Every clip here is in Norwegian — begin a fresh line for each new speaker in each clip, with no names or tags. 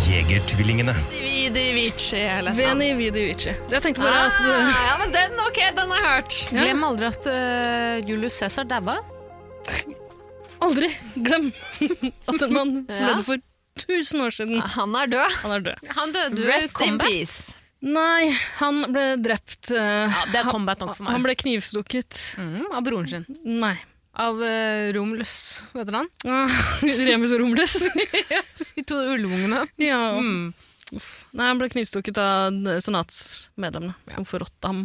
Jegertvillingene.
Vidi Vici eller noe sånt.
Veni vidi vici. Jeg tenkte bare
Ah,
at
ja, men den, ok, den har jeg hørt.
eh, Glem aldri at eh, Julius Cæsar daua.
Aldri glem at en mann som
Ja.
levde for 1000 år siden,
Ah.
Han er død.
han er død.
Han døde jo i
Rest in
combat.
peace.
Nei, han ble drept. eh,
Ja, det er combat nok for
Han
meg.
ble knivstukket.
Mm, av broren sin.
Nei.
Av eh, Romulus, vet dere han?
Ah, Remus og Romles.
De to ulvungene.
ja.
Mm.
Nei, han ble knivstukket av senatsmedlemmene, som forrådte ham.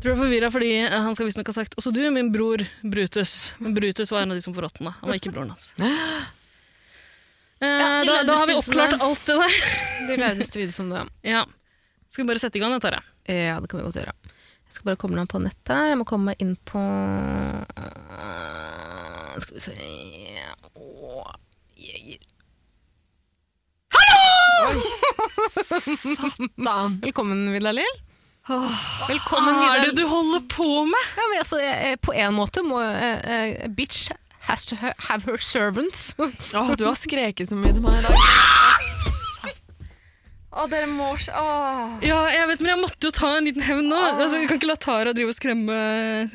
Tror jeg er forvirra fordi eh, han skal visstnok ha sagt 'også du, min bror Brutus'. Men Brutus var en av de som forrådte ham. da. Han var ikke broren hans. Eh,
de Eh,
da,
levde
da har vi
stund som
oppklart
det.
alt det der.
De lærde strides om det.
Ja. Skal vi bare sette i gang, da, Tara?
Eh, Ja, det kan vi godt gjøre. Jeg skal bare komme meg på nettet. her. Jeg må komme meg inn på eh, Skal vi se Åh, Jeger. Hallo! Velkommen, Vidar Lill. Velkommen,
Hva er
Vidar.
det du holder på med?
Ah, Ja, men altså, jeg, jeg, på en måte må eh, eh, Bitch has to ha- have her servants.
Åh, du har skreket så mye til meg i dag. Å, dere må s- Åh.
Ja, jeg vet, men jeg måtte jo ta en liten hevn nå. Altså, jeg kan ikke la Tara drive og skremme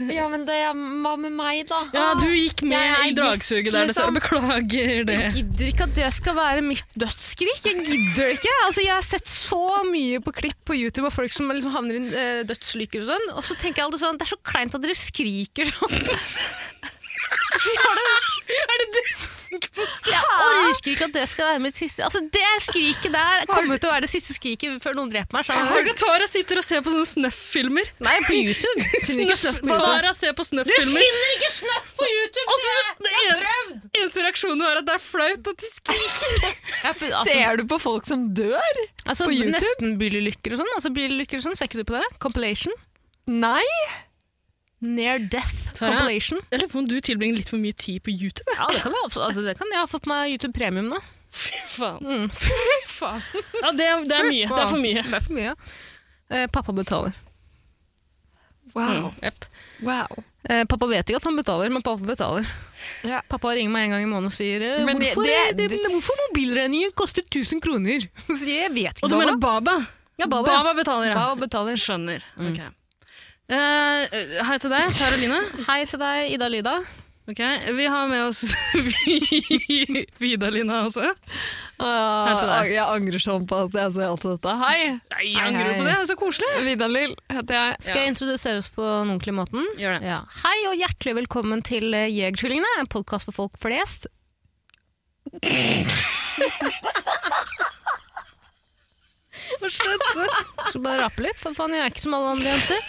Ja, men det var med meg, da.
Ja, du gikk med
Jeg er
i dragsuget
gjest,
der, dessverre.
liksom.
Beklager det.
Jeg gidder ikke at det skal være mitt dødsskrik. Jeg gidder ikke. Altså, jeg har sett så mye på klipp på YouTube av folk som liksom havner i eh, dødslykker og sånn, og så tenker jeg alltid sånn Det er så kleint at dere skriker sånn. Altså, jeg har det- Jeg orker ikke at det skal være mitt siste Altså, det skriket der kommer til å være det siste skriket før noen dreper meg. Så.
Tenk at Tara sitter og ser på sånne snøff-filmer.
Nei, på YouTube. Finner ikke snøff på YouTube.
Tara ser på snøff-filmer,
ikke snøff på YouTube!
og så det en, eneste reaksjonen var at det er flaut at de skriker.
Ja, for, altså,
Ser du på folk som dør?
Altså,
På YouTube?
Nesten bilulykker og sånn. Altså, bilulykker og sånn, Ser ikke du på det? Compilation.
Nei.
Near death
Tara.
compilation.
Jeg lurer på om du tilbringer litt for mye tid på YouTube.
Ja, det kan jeg, absolutt- altså, det kan jeg ha fått meg YouTube premium nå.
Fy faen.
Mm. Fy faen.
Ja, det, er- det er mye. Det er for mye.
Det er for mye. Eh, pappa betaler.
Wow.
Jepp.
wow.
Eh, pappa vet ikke at han betaler, men pappa betaler.
Ja.
Pappa ringer meg en gang i måneden og sier eh,
Men det-
hvorfor,
det-
eh, det- hvorfor mobilregningen koster 1000 kroner? Så sier jeg, jeg vet ikke,
Og du mener
mamma.
Baba?
Ja, Baba, ja.
Baba betaler, ja.
Baba betaler.
Skjønner. Ok. Eh, hei til deg, Karoline.
Hei til deg, Ida Lyda.
Ok, Vi har med oss Vida-Lina også.
Ah, jeg, angrer sånn på at jeg ser alt dette. Hei!
Nei,
Hei,
angrer du
hei.
på det? Det er så koselig.
Vidar-Lill heter jeg.
Skal jeg introdusere oss på den ordentlige måten?
Gjør det.
Ja. Hei og hjertelig velkommen til eh, Jegertvillingene, en podkast for folk flest. Skal bare rape litt, for faen, jeg er ikke som alle andre jenter.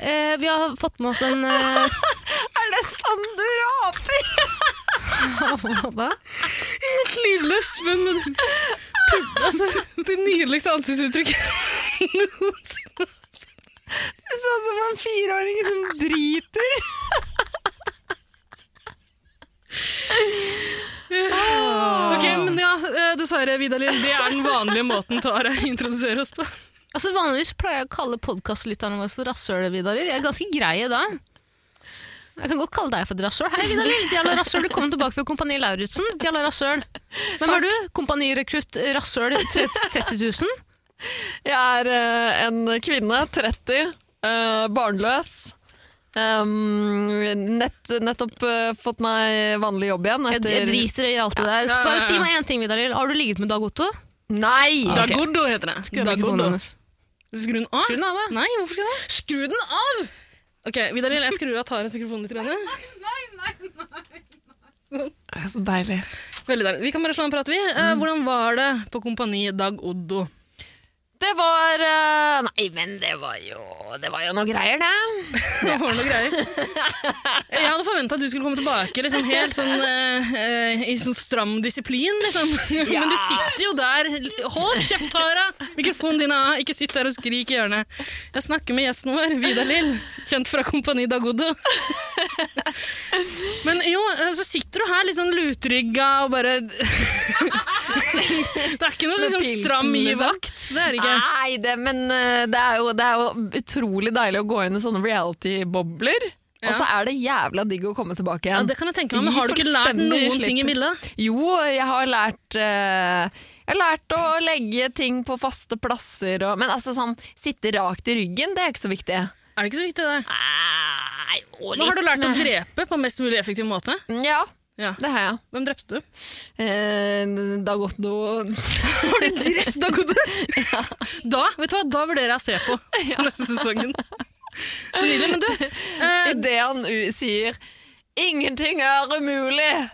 Eh, vi har fått med oss en eh,
Er det sånn du raper?
Hva da?
Livløst, men, men pu- altså, Det nydeligste ansiktsuttrykket noensinne.
Sånn som en fireåring som driter.
Ah.
Ok, men ja, eh, dessverre, Vidalin, det er den vanlige måten Tara introduserer oss på.
Altså, vanligvis pleier jeg å kalle podkastlytterne våre for rasshøl, Vidaler. Jeg er ganske greie da. Jeg kan godt kalle deg for et rasshøl. Hei, Vidar Lill, ditt jævla rasshøl. Du kom tilbake fra Kompani Lauritzen, ditt jævla rasshøl. Hvem er du? Kompanirekrutt rasshøl 30 000?
Jeg er eh, en kvinne, 30, eh, barnløs. Um, nett, nettopp eh, fått meg vanlig jobb igjen.
Jeg, jeg driter i alt det der. Så
Ja, ja, ja,
bare
ja.
si meg én ting, Vidar Lill. Har du ligget med Dag Otto?
Nei!
Ja. Ah, Ok.
Dagordo heter det.
Skru av mikrofonen hennes.
Skru den av?
Skru den av, ja.
Nei, hvorfor skal jeg det? Skru den av! Ok, Vidalin, jeg skrur av Taras mikrofon litt. Rene.
Det er så deilig.
Veldig deilig. Vi kan bare slå en prat, vi. Eh,
Mm.
Hvordan var det på Kompani Dag Oddo?
Det var eh, Nei, men det var jo Det var jo noe greier, det.
Det var noe greier. Jeg hadde forventa at du skulle komme tilbake liksom, helt sånn, eh, eh, i sånn stram disiplin, liksom.
Ja.
Men du sitter jo der. Hold kjeft, Tara! Mikrofonen din er av, ikke sitt der og skrik i hjørnet. Jeg snakker med gjesten vår, Vidar Lill, kjent fra Kompani Dagodo. Men jo, eh, så sitter du her litt sånn lutrygga og bare Det er ikke noe
Med
liksom
pilsen,
stram i
liksom.
vakt. Det er det ikke.
Nei, det, men eh, det er, jo, det er jo utrolig deilig å gå inn i sånne reality-bobler.
Ja.
Og så er det jævla digg å komme tilbake
Ja,
igjen.
det kan jeg tenke meg, men
Gi
har du ikke lært
fullstendig
noen ting
slipp.
i Milla?
Jo, jeg har lært eh, Jeg har lært å legge ting på faste plasser og Men altså sånn, sitte rakt i ryggen, det er ikke så viktig.
Er det ikke så viktig, det?
Nei, og
Men har du
litt
lært å
med-
drepe på mest mulig effektiv måte?
Ja,
Ja.
det har jeg.
Hvem drepte du?
Eh, Dagotto
Har du drept Dagode? Da vet du hva, da vurderer jeg å se på neste sesongen. Så nydelig. Men du, eh,
Idet han u- sier 'ingenting er umulig',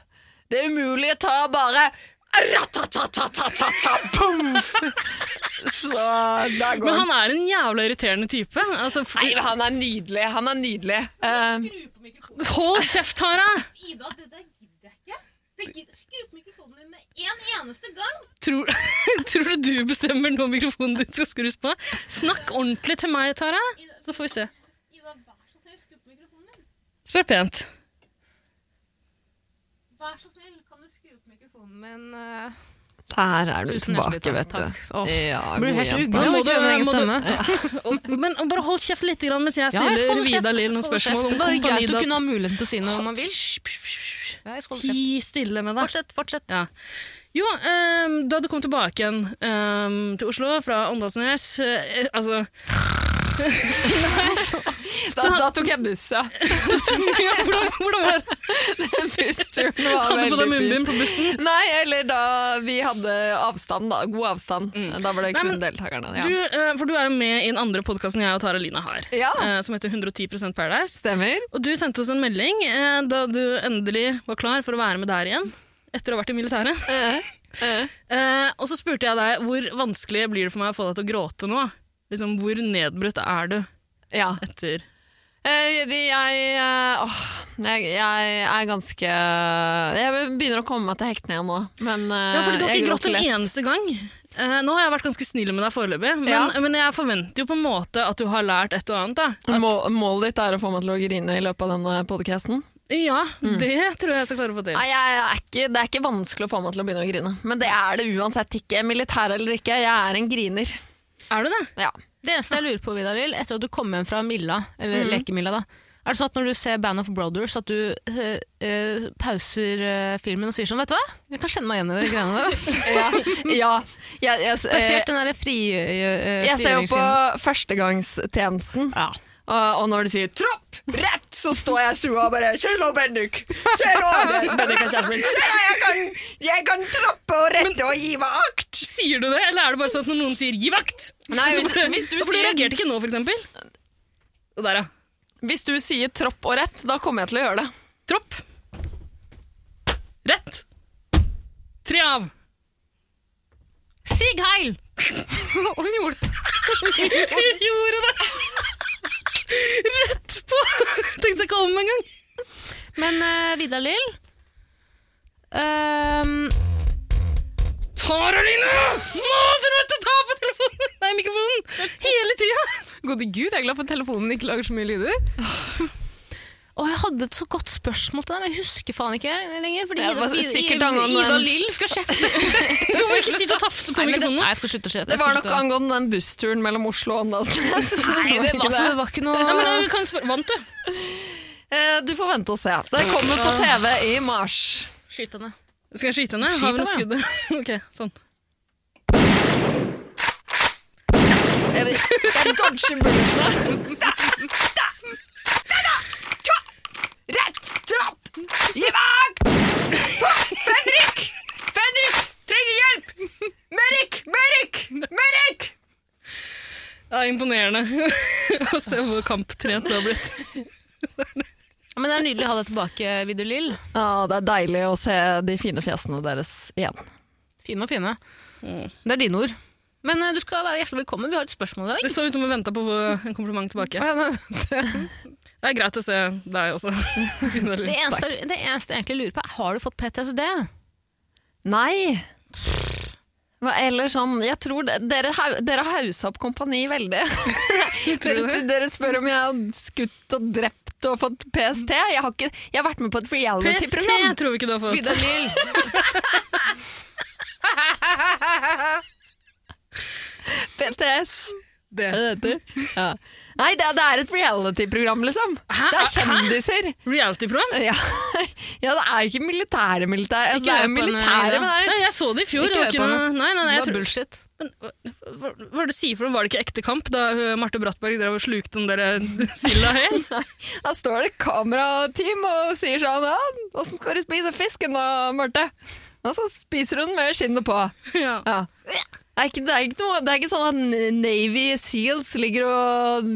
det umulige tar bare ratatatatata, Pumf! Så da går
men han er en jævla irriterende type. Altså, f-
Nei, men han er nydelig. Han er nydelig. Eh,
Skru på mikrofonen.
hold kjeft, Tara!
Ida, det der gidder jeg ikke. Det gidder- Skru på mikrofonen din med en eneste gang.
Tror, tror du du bestemmer når mikrofonen din skal skrus på? Snakk ordentlig til meg, Tara, så får vi se.
Ida, vær så snill, skru på mikrofonen din.
Spør pent.
Vær så snill, kan du skru på mikrofonen min? eh?
der er du
Tusen hjertelig
tilbake,
takk.
vet du.
Takk. Åh,
Ja,
Blir
god
helt
jente.
ugle
Da
av
må
ikke
du-
høre min egen
må du-
stemme.
Men bare hold kjeft litt grann, mens jeg
Ja, jeg
stiller
skåler kjeft.
Vidar Lill noen
Skåler
spørsmål
kjeft.
om
Det er
Kompani
greit å
Da-
kunne ha muligheten til å si noe om man vil.
Hysj, hysj, hysj.
Ja, jeg skåler kjeft.
Ti stille med deg.
Fortsett, fortsett.
Ja. Jo, ehm, da du kom tilbake igjen ehm, til Oslo fra Åndalsnes eh, Altså,
Da, da tok jeg bussen.
ja, hvordan, hvordan var det?
Bussturen var
Hadde du på deg
veldig fin.
munnbind på bussen?
Nei, eller da vi hadde avstand, da. God avstand. Da var det
Nei,
kun
men
deltakerne. Ja.
Du, eh, for du er jo med i den andre podkasten jeg og Tara Lina har,
ja,
eh, som heter 110 Paradise.
stemmer.
Og du sendte oss en melding eh, da du endelig var klar for å være med der igjen. Etter å ha vært i militæret.
Eh, eh.
Eh, og så spurte jeg deg hvor vanskelig blir det for meg å få deg til å gråte nå? Liksom, Hvor nedbrutt er du
Ja.
etter
Eh, de- Jeg, eh, åh, jeg, jeg er ganske Jeg begynner å komme meg til hektene igjen nå, men eh,
Ja, fordi du har
jeg
ikke grått
gråter
en
lett.
eneste gang. Eh, nå har jeg vært ganske snill med deg foreløpig, men,
Ja.
men jeg forventer jo på en måte at du har lært et og annet. Da. At,
Må, målet ditt er å få meg til å grine i løpet av denne podcasten?
ja, det tror jeg jeg skal klare å få til.
Mm. Nei, jeg er ikke, det er ikke vanskelig å få meg til å begynne å grine. Men det er det uansett ikke. Militær eller ikke, jeg er en griner.
Er du det?
Ja.
Det eneste jeg lurer på, Vidar Lill, etter at du kom hjem fra Milla, eller Lekemilla, da, er det sånn at når du ser Band of Brothers, at du eh, eh, pauser eh, filmen og sier sånn, vet du hva? Jeg kan kjenne meg igjen i de greiene der. ass."
Ja, jeg, jeg,
Spesielt den derre fri... eh,
jeg ser jo på
frigjøringsscenen.
førstegangstjenesten.
ja.
Og, og når de sier 'tropp, rett', så står jeg i stua og bare 'Kjell og Bendik'. Kjell og Bendik er kjæresten min. «Kjell, jeg kan- jeg kan troppe og rette og gi meg akt!
Sier du det, eller er det bare sånn at når noen sier 'gi vakt'?
Nei,
så
hvis-
bare-
hvis du
Ja, for du
sier-
reagerte ikke nå, for eksempel. Og der, ja.
Hvis du sier 'tropp og rett', da kommer jeg til å gjøre det.
Tropp. Rett. Tre av.
Sig Heil!
Og hun gjorde det. Hun gjorde det. Rett på. Tenkte seg ikke om engang.
Men eh, Vidar Lill... ehm,
Tara Line! Må dere vet å ta på telefonen! Nei, mikrofonen! Hele tida!
Gode gud, jeg er glad for at telefonen ikke lager så mye lyder. Og jeg hadde et så godt spørsmål til deg, men jeg husker faen ikke lenger. Fordi
Ja, det var
Ida,
sikkert
Ida,
angående-
Ida Lill skal kjefte.
Du må ikke sitte og
Nei,
tafse på
men det-
mikrofonen.
Nei, jeg skal slutte å kjefte.
Det var nok angående den bussturen mellom Oslo og Åndalsnes.
Nei, det var, altså, det var ikke noe
Nei, men jeg kan spørre, Vant du?
Eh, Du får vente og se. Det kommer på TV i mars.
Skyt henne.
Skal jeg skyte henne? Har vi noe skudd? Ok, sånn.
Jeg, jeg dodger bulletene. Rett trapp! Gi meg! Fenrik! Fenrik trenger hjelp! Merrik! Merrik! Merrik!
Ja, Imponerende å se hvor kamptrent du har blitt.
Men det er nydelig å ha deg tilbake, Vidar Lill.
Ja, det er deilig å se de fine fjesene deres igjen.
Fine og fine. Det er dine ord. Men eh, du skal være hjertelig velkommen. Vi har et spørsmål i dag.
Det så ut som hun venta på en kompliment tilbake.
Ja, men-
Det er greit å se deg også.
Det eneste, det eneste jeg egentlig lurer på, er har du fått PTSD?
Nei. Hva Eller sånn, jeg tror det, Dere, hau- dere har hausa opp kompani veldig. dere, dere spør om jeg har skutt og drept og fått PST. Jeg har, ikke, jeg har vært med på et
PST
reality-program.
tror vi ikke du har fått.
PTS.
Det.
Ja. Nei, det, det er et reality-program, liksom.
Hæ?
Det er kjendiser.
Reality-program?
Ja. ja, det er ikke militære militære. Altså,
Ikke
det er
hør
jo
på henne,
militære,
Ida.
men det
Nei, jeg så det i fjor.
Ikke
det var
hør
ikke
på
noe... Nei, nei, nei, jeg
Det var
tror...
bullshit.
Men, hva, hva, hva er det du sier for noe? Var det ikke ekte kamp da hun- Marte Brattberg drev og slukte den der eh, silda hel?
er Da står det kamerateam og sier sånn ja, 'Åssen skal du spise fisken da, Marte?' Og så spiser hun med skinnet på.
ja.
Ja. Det er, ikke, det, er ikke noe, det er ikke sånn at Navy Seals ligger og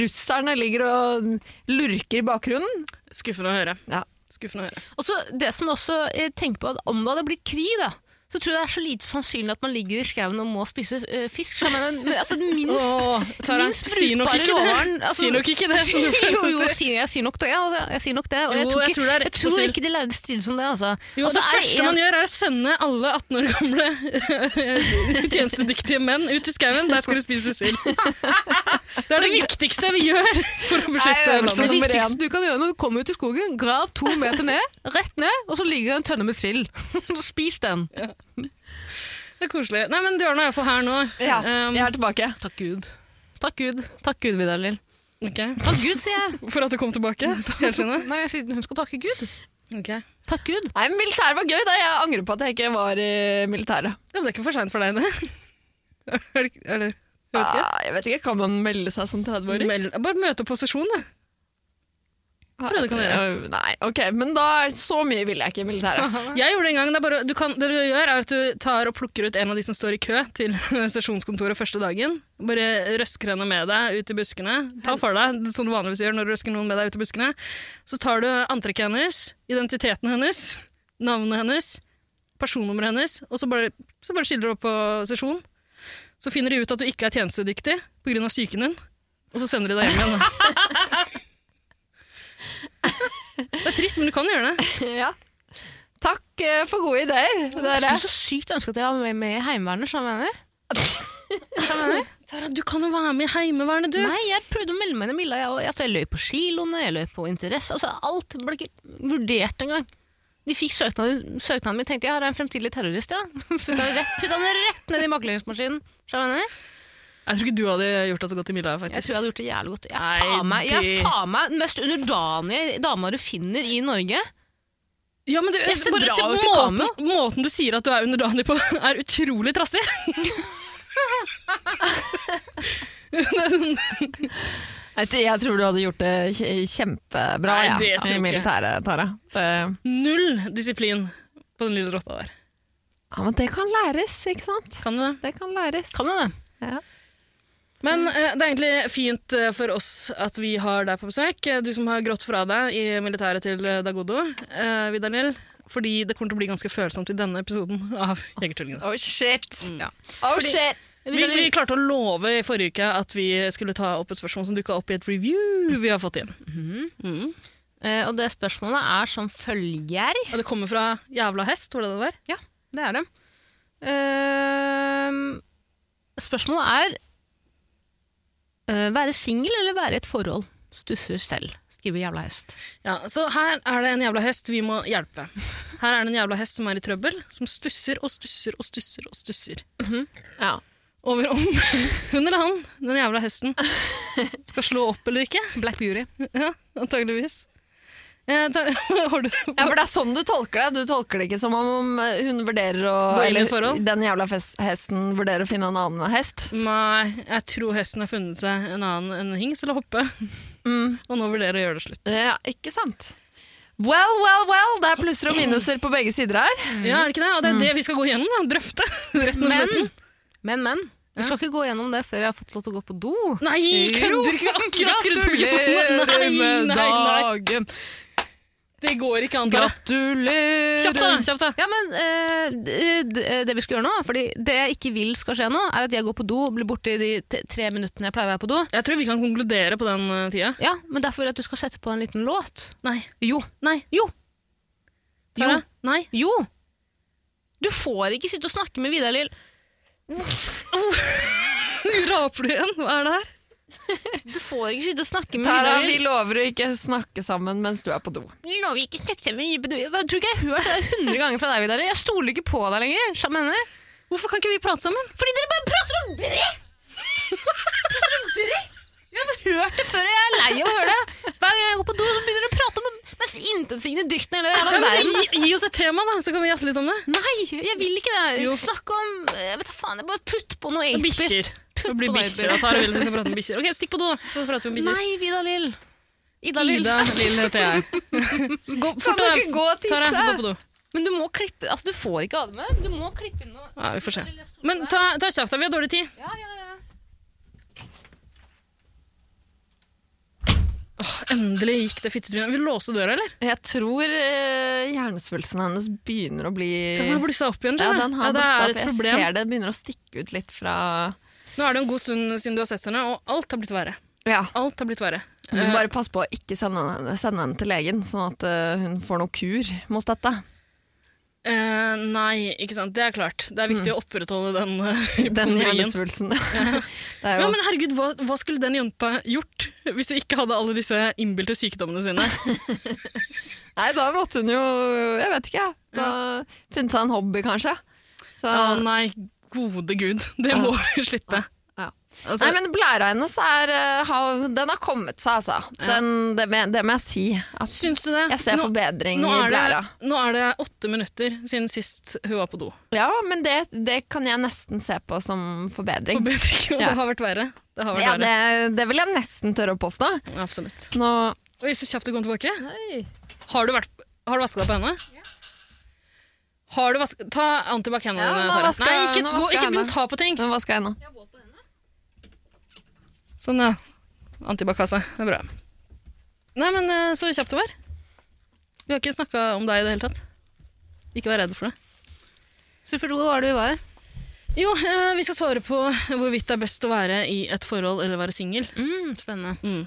Russerne ligger og lurker i bakgrunnen.
Skuffende å høre.
Ja.
Skuffende å høre.
Og så det som også eh, tenker på, at om det hadde blitt krig, da, så tror jeg det er så lite sannsynlig at man ligger i skauen og må spise eh, fisk. Så jeg mener, men, altså den minst
Åh, Tara,
minst
si nok
brukbare
ikke det.
råvaren, altså-
Si nok ikke det. som du pleier
jo,
å
jo,
si.
sier, jeg sier nok det. Ja, jeg, jeg sier nok det. Og
Jo,
jeg tror,
jeg
ikke,
tror det er rett
jeg
på
tror
siden.
ikke de lærde strides om det, altså.
Jo,
Og
det
så er
første
en-
man gjør, er å sende alle 18 år gamle tjenestedyktige menn ut i skauen. Der skal de spise sild. Det er det viktigste vi gjør for å beskytte
Nei,
Det
landet.
nummer
viktigste du kan gjøre når du kommer ut i skogen, grav to meter ned, rett ned, og så ligger det en tønne med sild. Så Spis den.
Det er koselig. Nei, men du er nå iallfall her nå.
Ja,
Um,
jeg er tilbake.
Takk Gud. Takk Gud, Takk Gud, Vidar Lill.
ok.
Takk Gud, sier jeg.
For at du kom tilbake? Helt skjønner.
Nei, jeg sier, hun skal takke Gud. Takk Gud.
Nei, men Militæret var gøy. da Jeg angrer på at jeg ikke var i militæret.
Ja, men det er ikke for seint for deg, det. Er det- er det- jeg vet ikke.
Ah, jeg vet ikke, Mm, Kan man melde seg som 30-åring?
Meld- Bare møte opp på sesjon, da. tror jeg du kan
gjøre. Ah, Nei, ok, Men da er så mye ville jeg ikke i militæret.
Jeg gjorde det en gang. Det, er bare, du kan, det du gjør, er at du tar og plukker ut en av de som står i kø til sesjonskontoret første dagen. Bare røsker henne med deg ut i buskene. Ta for deg, som du vanligvis gjør når du røsker noen med deg ut i buskene. Så tar du antrekket hennes, identiteten hennes, navnet hennes, personnummeret hennes, og så bare, så bare skiller du opp på sesjon. Så finner de ut at du ikke er tjenestedyktig pga. psyken din, og så sender de deg hjem igjen. Det er trist, men du kan gjøre det.
ja. Takk eh, for gode ideer,
Jeg
dere.
skulle så sykt ønske at jeg var med, med i Heimevernet, skjønner du hva jeg mener.
Tara, du kan jo være med i Heimevernet, du.
Nei, jeg prøvde å melde meg inn i Milla. Jeg, og- altså, jeg løy på kiloene, jeg løy på interesse. Altså, alt ble ikke vurdert engang. De fikk søknaden, søknaden min, tenkte jeg. Her er en fremtidig terrorist, ja. Putta den rett, putta den rett ned i makleringsmaskinen. Skjønner du hva jeg mener?
Jeg tror ikke du hadde gjort deg så godt i Milla,
Jeg
faktisk.
tror jeg hadde gjort det jævlig godt. Jeg
Nei,
er faen meg, jeg
det-
er faen meg den mest underdanige dama du finner i Norge.
Ja, men du,
Jeg ser
bare
bra
se
ut i
måten,
kamera.
måten du sier at du er underdanig på, er utrolig trassig. Det er sånn-
Jeg t- Jeg tror du hadde gjort det kje- kjempebra
Nei,
ja,
det tror jeg
i
ikke.
militæret, Tara. Det,
Null disiplin på den lille rotta der.
ja, men det kan læres, ikke sant?
Kan du det?
Det kan læres.
Kan du det?
Men eh, det er egentlig fint eh, for oss at vi har deg på besøk. Eh, Du som har grått fra deg i militæret til eh, Dagodo, eh, Vidar-Lill. Fordi det kommer til å bli ganske følsomt i denne episoden av Jegertvillingene.
Oh shit!
Ja.
Oh shit!
Vi, vi klarte å love i forrige uke at vi skulle ta opp et spørsmål som dukka opp i et review vi har fått inn. Mhm.
Eh, og det spørsmålet er som følger.
Og det kommer fra jævla hest, var det det var?
Det er det. Ehm, spørsmålet er eh, være singel eller være i et forhold? Stusser selv, skriver jævla hest.
Ja, Så her er det en jævla hest vi må hjelpe. Her er det en jævla hest som er i trøbbel, som stusser og stusser og stusser og stusser.
Ja.
Over om hun eller han, den jævla hesten, skal slå opp eller ikke.
Black Beauty.
Ja, antageligvis. Eh, tar, har du
Ja, for det er sånn du tolker det. Du tolker det ikke som om eh, hun vurderer å
Gå inn i
Eller
forhold?
den jævla fes- hesten vurderer å finne en annen hest.
Nei, jeg tror hesten har funnet seg en annen enn hings eller hoppe,
Mm.
og nå vurderer å gjøre det slutt.
Ja, ikke sant? Well, well, well! Det er plusser og minuser på begge sider her.
Ja, er det ikke det? Og det er det vi skal gå gjennom, da. Drøfte. Rett og slett.
Men, men, men. Jeg skal ikke gå gjennom det før jeg har fått lov til å gå på do.
Nei, kødder ikke! Akkurat skrudd mikrofonen! Nei, nei, nei.
dagen!
Det går ikke an, Tara.
Gratulerer!
Kjapt, da! kjapt da.
Ja, men eh, d- d- det vi skal gjøre nå, fordi det jeg ikke vil skal skje nå, er at jeg går på do og blir borte i de t- tre minuttene jeg pleier å være på do.
Jeg tror vi kan konkludere på den eh, tida.
Ja, men derfor vil jeg at du skal sette på en liten låt.
Nei.
Jo.
Nei.
Jo.
Tara? Nei.
Jo. Du får ikke sitte og snakke med Vidar Lill.
Raper du igjen? Hva er det her?
Du får ikke sitte og snakke med
Tara,
Vidar
vi
Lill.
lover å ikke snakke sammen mens du er på do.
Nå, vi ikke snakke sammen. Jeg tror ikke jeg har hørt det hundre ganger fra deg, Vidar Lill. Jeg stoler ikke på deg lenger. Skjønner du hva jeg mener?
Hvorfor kan ikke vi prate sammen?
Fordi dere bare prater om dritt! Prater om dritt! Jeg har hørt det før, og jeg er lei av å høre det. Hver gang jeg går på do, så begynner dere å prate om den mest intetsigende dritten i hele
Ja,
jævla
men
verden.
gi, gi oss et tema, da, så kan vi jazze litt om det.
Nei, jeg vil ikke det.
Jo.
Snakk om Jeg vet da faen, jeg bare putt på noe ape.
Bikkjer. Det blir
på deg,
bikkjer.
Bjørn.
da. Tara vil at vi skal prate om bikkjer. Ok, stikk på do, da. Så prater vi om bikkjer.
Nei, Vida Lill. Ida Lill.
Ida Lill heter jeg. Gå
Kan
fort,
du
da.
ikke gå og
Tara,
tisse?
gå på do.
Men du må klippe Altså, du får ikke av det med det. Du må klippe inn noe.
Ja, vi får se. Men ta, ta kjapt, da. Vi har dårlig tid.
Ja, ja, ja.
Endelig gikk det fittetrynet. Vil du låse døra, eller?
Jeg tror eh, hjernesvulsten hennes begynner å bli
Den har blussa opp igjen.
Eh, ja,
skjønner du.
den har
ja, det
blusset
er et
opp. Jeg
problem.
ser det begynner å stikke ut litt fra
Nå er det en god stund siden du har sett henne, og alt har blitt verre.
Ja. Eh.
Alt har blitt verre.
Du må bare passe på å ikke sende henne, sende henne til legen, sånn at eh, hun får noe kur mot dette.
Eh, nei, ikke sant. Det er klart. Det er viktig å
Mm.
opprettholde den uh,
Den hjernesvulsten. Det
Ja,
er jo
men herregud, hva, hva skulle den jenta gjort hvis hun ikke hadde alle disse innbilte sykdommene sine?
Nei, da måtte hun jo Jeg vet ikke, jeg. Da Funnet seg en hobby, kanskje. Så,
Å nei, gode gud. Det må vi slippe.
Ja.
Altså,
Nei, men blæra hennes er eh, har- Den har kommet seg, altså. Den, det, må- det må jeg si. At
syns du det?
jeg ser
Nå-
forbedring
nå
i
er det-
blæra.
Nå er det åtte minutter siden sist hun var på do.
Ja, men det, det kan jeg nesten se på som forbedring.
Forbedring, og
Ja.
Det har vært verre. Det har vært
Ja,
verre.
det, det vil jeg nesten tørre å påstå.
Absolutt.
Nå,
Oi, så kjapt du kom tilbake. Har du, vært, har du vaska deg på henne? Har du vaska, ta antibac hendene
Ja,
dine,
nå
Tara.
vasker
Nei,
jeg-
ikke,
nå
gå,
vasker jeg
ikke begynn
hendene.
å ta på ting.
nå vasker jeg nå.
Sånn, ja. Antibac-kassa. Det er bra. Nei, men eh, så kjapt det var. Vi har ikke snakka om deg i det hele tatt. Ikke vær redd for det.
Supert, hvor var det vi var?
Jo, eh, vi skal svare på hvorvidt det er best å være i et forhold eller være singel.
Mm, spennende.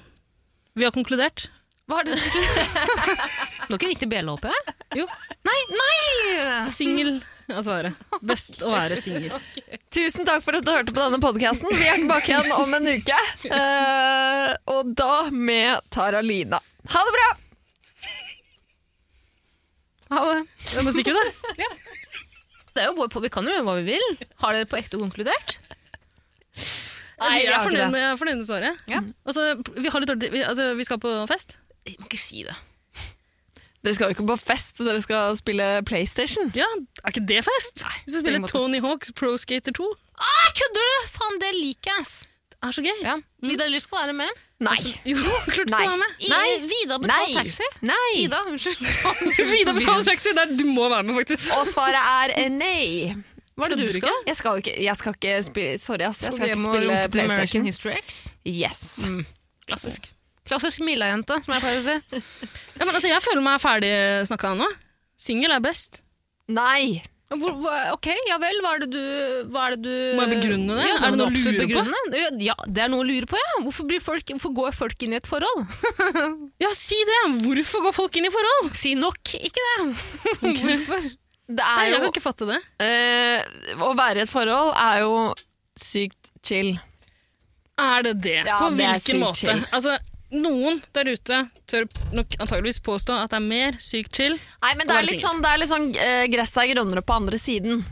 Vi har konkludert.
Hva har du Du har ikke riktig bjelle, håper jeg?
Jo,
Nei, nei!
singel er svaret. Best å være singel.
Tusen takk for at du hørte på denne podkasten. Vi er tilbake igjen om en uke. Eh, og da med Tara Lina. Ha det bra!
Ha det.
Det er musikk, det.
Det er jo vår pod, vi kan jo gjøre hva vi vil. Har dere på ekte konkludert?
jeg,
Nei,
er
vi har ikke
fornøyd
det.
med, jeg er fornøyd med svaret. Mm.
Ja.
Og så, vi, har litt, dårlig- vi, altså, vi skal på fest.
Jeg må ikke si det.
Dere skal jo ikke på fest, dere skal spille PlayStation.
Ja, er ikke det fest? vi skal
på en
spille
måte.
Tony Hawks Pro Skater 2.
Ah, kødder du? Faen, det liker jeg. ass.
Det er så gøy.
Ja. Vidar Lyst skal være med.
Nei.
Jo, klart du skal
Nei.
være med.
I,
Nei.
Vidar
Nei.
betaler taxi.
Nei.
Ida, unnskyld.
Vida betaler taxi. Det er- du må være med, faktisk.
Altså. Og svaret er eh, nei.
Hva er det du
Kødder du
skal?
Jeg skal jo ikke, jeg skal ikke spille Sorry, ass. Jeg
Så
skal
det
ikke
må
spille
runke til eh, American
PlayStation.
History X.
Yes.
Klassisk. Klassisk Milla-jente, som jeg pleier å si.
Ja, men altså, jeg føler meg ferdig snakka nå. Singel er best.
Nei.
Hvor, hva- ok, ja vel, hva er det du, hva er det du
Må jeg begrunne det?
Ja,
Er det
må
noe
du
å
absolutt
lure på?
begrunne. Ja, det er noe å lure på, ja. Hvorfor, blir folk, hvorfor går folk inn i et forhold?
Ja, si det! Hvorfor går folk inn i forhold?
Si nok, ikke det. Hvorfor?
Det
Nei,
er
jeg
jo
kan ikke fatte det.
Eh, Å være i et forhold er jo sykt chill.
Er det det?
Ja,
på
det er
hvilken
sykt
måte?
chill.
Altså, noen der ute tør nok antageligvis påstå at det er mer sykt chill.
Nei, men
Å
det
være
er litt
singel.
sånn, det er litt sånn eh, gresset er grønnere på andre siden.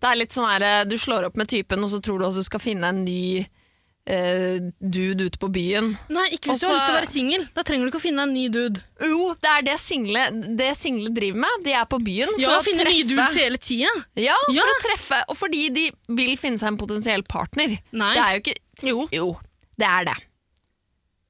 Det er litt sånn her, eh, du slår opp med typen, og så tror du også du skal finne en ny eh, dude ute på byen.
Nei, ikke hvis du
Også-
har lyst til å være singel. Da trenger du ikke å finne deg en ny dude.
Jo, det er det single, det single driver med. De er på byen for
Ja,
å
finne nye dudes
treffe.
hele tida.
Ja, for
Ja.
å treffe, og fordi de vil finne seg en potensiell partner.
Nei.
Det er jo ikke Jo. det er det.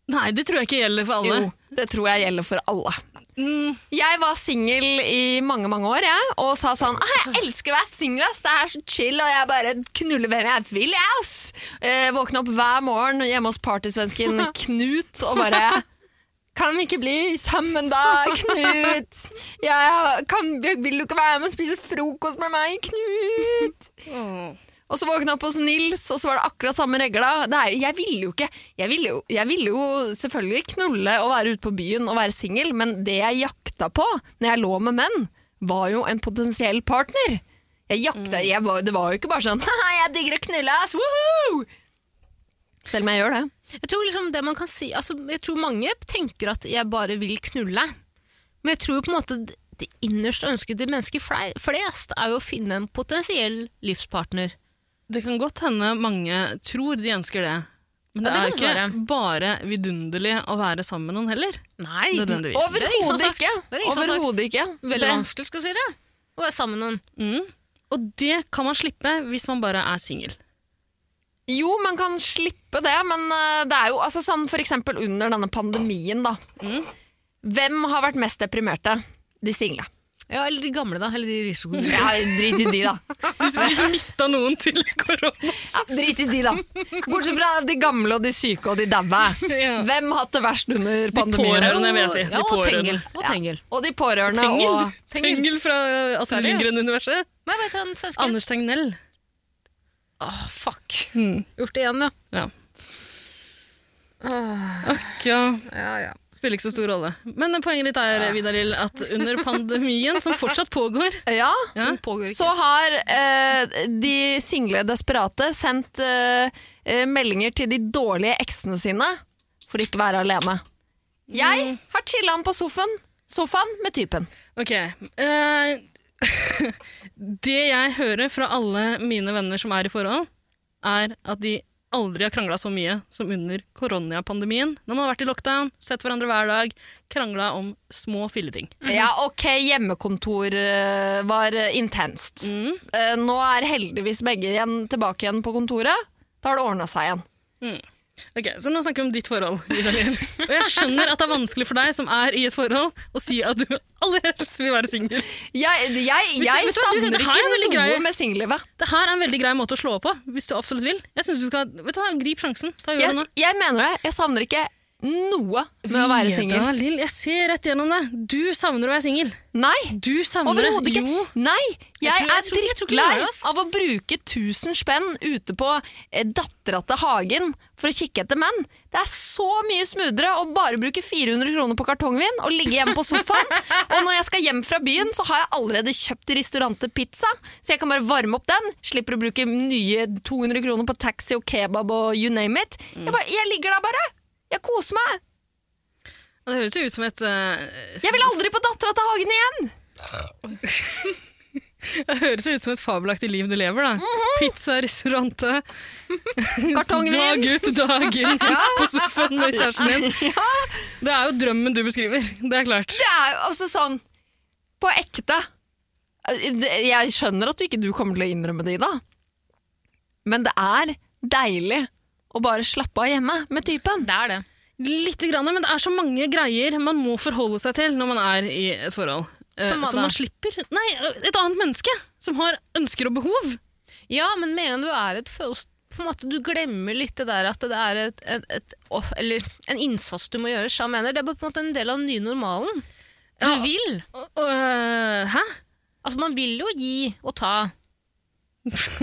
Nei, det tror jeg ikke gjelder for alle.
Jo, det tror jeg gjelder for alle.
Mm,
Jeg var singel i mange mange år jeg, og sa sånn «Ah, Jeg elsker å være singel, ass! Det er så chill, og jeg bare knuller hvem jeg vil, jeg, ass! Eh, våkne opp hver morgen hjemme hos partysvensken Knut og bare Kan vi ikke bli sammen, da, Knut? Jeg kan, vil du ikke være med og spise frokost med meg, Knut?
Åh.
Og så våkna jeg opp hos Nils, og så var det akkurat samme regla. Det er, jo- jeg ville jo ikke jeg ville jo, jeg ville jo selvfølgelig knulle og være ute på byen og være singel, men det jeg jakta på når jeg lå med menn, var jo en potensiell partner. Jeg
Mm.
jakta, jeg var, det var jo ikke bare sånn Haha, jeg digger å knulle, ass! Woohoo! Selv om jeg gjør det.
Jeg tror liksom det man kan si altså, Jeg tror mange tenker at jeg bare vil knulle. Men jeg tror jo på en måte det- det innerst ønskede mennesket fle- flest er jo å finne en potensiell livspartner.
Det kan godt hende mange tror de ønsker det.
Ja,
Men det,
det
er
kan
jo ikke
det
bare vidunderlig å være sammen med noen heller.
Nei!
Nødvendigvis.
Det er ingen som har
Overhodet
sagt.
ikke.
Det er ingen som har sagt.
Overhodet ikke.
Veldig
Det-
vanskelig, skal jeg si det. Å være sammen med noen.
Mm. Og det kan man slippe hvis man bare er singel.
Jo, man kan slippe det, men eh, det er jo altså, sånn for eksempel under denne pandemien, da.
Mm.
Hvem har vært mest deprimerte? De single.
Ja, eller de gamle, da. Eller de risikogruppene.
Ja, drit i de, da.
De, de som mista noen til korona.
Ja, drit i de, da. Bortsett fra de gamle og de syke og de daue.
Ja.
Hvem har hatt det verst under pandemien?
pårørende, vil jeg si. De
Ja, og
pårørende.
Tengel. Og
Ja.
Tengel.
Og de pårørende
Tengel,
og
Tengel fra Astrid
Særlig, ja.
Lindgren-universet.
Nei, vet du hva den svensken?
Anders Tegnell.
Åh, fuck.
Mm.
Gjort det igjen, ja.
Ja.
Åh,
Akk, ja.
Ah. ja, ja.
Spiller ikke så stor rolle. Men poenget ditt er Vidar Lill, at under pandemien, som fortsatt pågår
Ja.
ja,
Den pågår ikke.
Så har eh, de single desperate sendt eh, eh, meldinger til de dårlige eksene sine for ikke å være alene. Jeg
Mm.
har chilla på sofaen, sofaen med typen.
Ok. eh, det jeg hører fra alle mine venner som er i forhold, er at de aldri har krangla så mye som under koronapandemien. Når man har vært i lockdown, sett hverandre hver dag, krangla om små filleting.
Ja, ok, hjemmekontor eh, var eh, intenst.
Mm.
Eh, nå er heldigvis begge igjen tilbake igjen på kontoret. Da har det ordna seg igjen.
Ok, Så nå snakker vi om ditt forhold. Ida Lien. Og jeg skjønner at det er vanskelig for deg som er i et forhold, å si at du aller helst vil være singel.
Jeg, jeg,
Hvis-
jeg
vet du hva, du,
savner
det her er veldig
ikke noe
grei.
med singellivet.
Det her er en veldig grei måte å slå på hvis du absolutt vil. Jeg synes du skal, vet du hva, Grip sjansen. Ta og gjør det nå.
Jeg, jeg mener det. Jeg savner ikke noe med å være singel.
Vidar Lill, jeg ser rett gjennom deg. Du savner å være singel.
Nei!
Du savner det.
Overhodet ikke.
Jo.
Nei,
tror-
jeg,
jeg
er
tror- jeg tror ikke
drittlei
det er oss.
av å bruke 1000 spenn ute på eh, dattera til Hagen for å kikke etter menn. Det er så mye smoothere å bare bruke 400 kroner på kartongvin og ligge hjemme på sofaen. og når jeg skal hjem fra byen, så har jeg allerede kjøpt i restaurantet pizza, så jeg kan bare varme opp den. Slipper å bruke nye 200 kroner på taxi og kebab og you name it. Jeg, bare, jeg ligger der bare. Jeg koser meg.
Det høres jo ut som et eh,
Jeg vil aldri på dattera til Hagen igjen!
Det høres jo ut som et fabelaktig liv du lever, da. Pizza, restaurante, Mhm. dag
Kartongvin.
ut dagen på sofaen med kjæresten din. Det er jo drømmen du beskriver. Det er klart.
Det er jo altså sånn På ekte Det- Jeg skjønner at du ikke du kommer til å innrømme det, Ida. Men det er deilig å bare slappe av hjemme med typen.
Det er det.
Litt, grann, men det er så mange greier man må forholde seg til når man er i et forhold. Eh,
Som hva
som
da?
man slipper Nei, eh, et annet menneske som har ønsker og behov.
Ja, men med en gang du er et følelse på en måte, Du glemmer litt det der at det er et, et, et off, eller en innsats du må gjøre. Så jeg mener, det er på en måte en del av den nye normalen. Du
Ja.
vil.
Og- og, eh, hæ?
Altså, man vil jo gi og ta.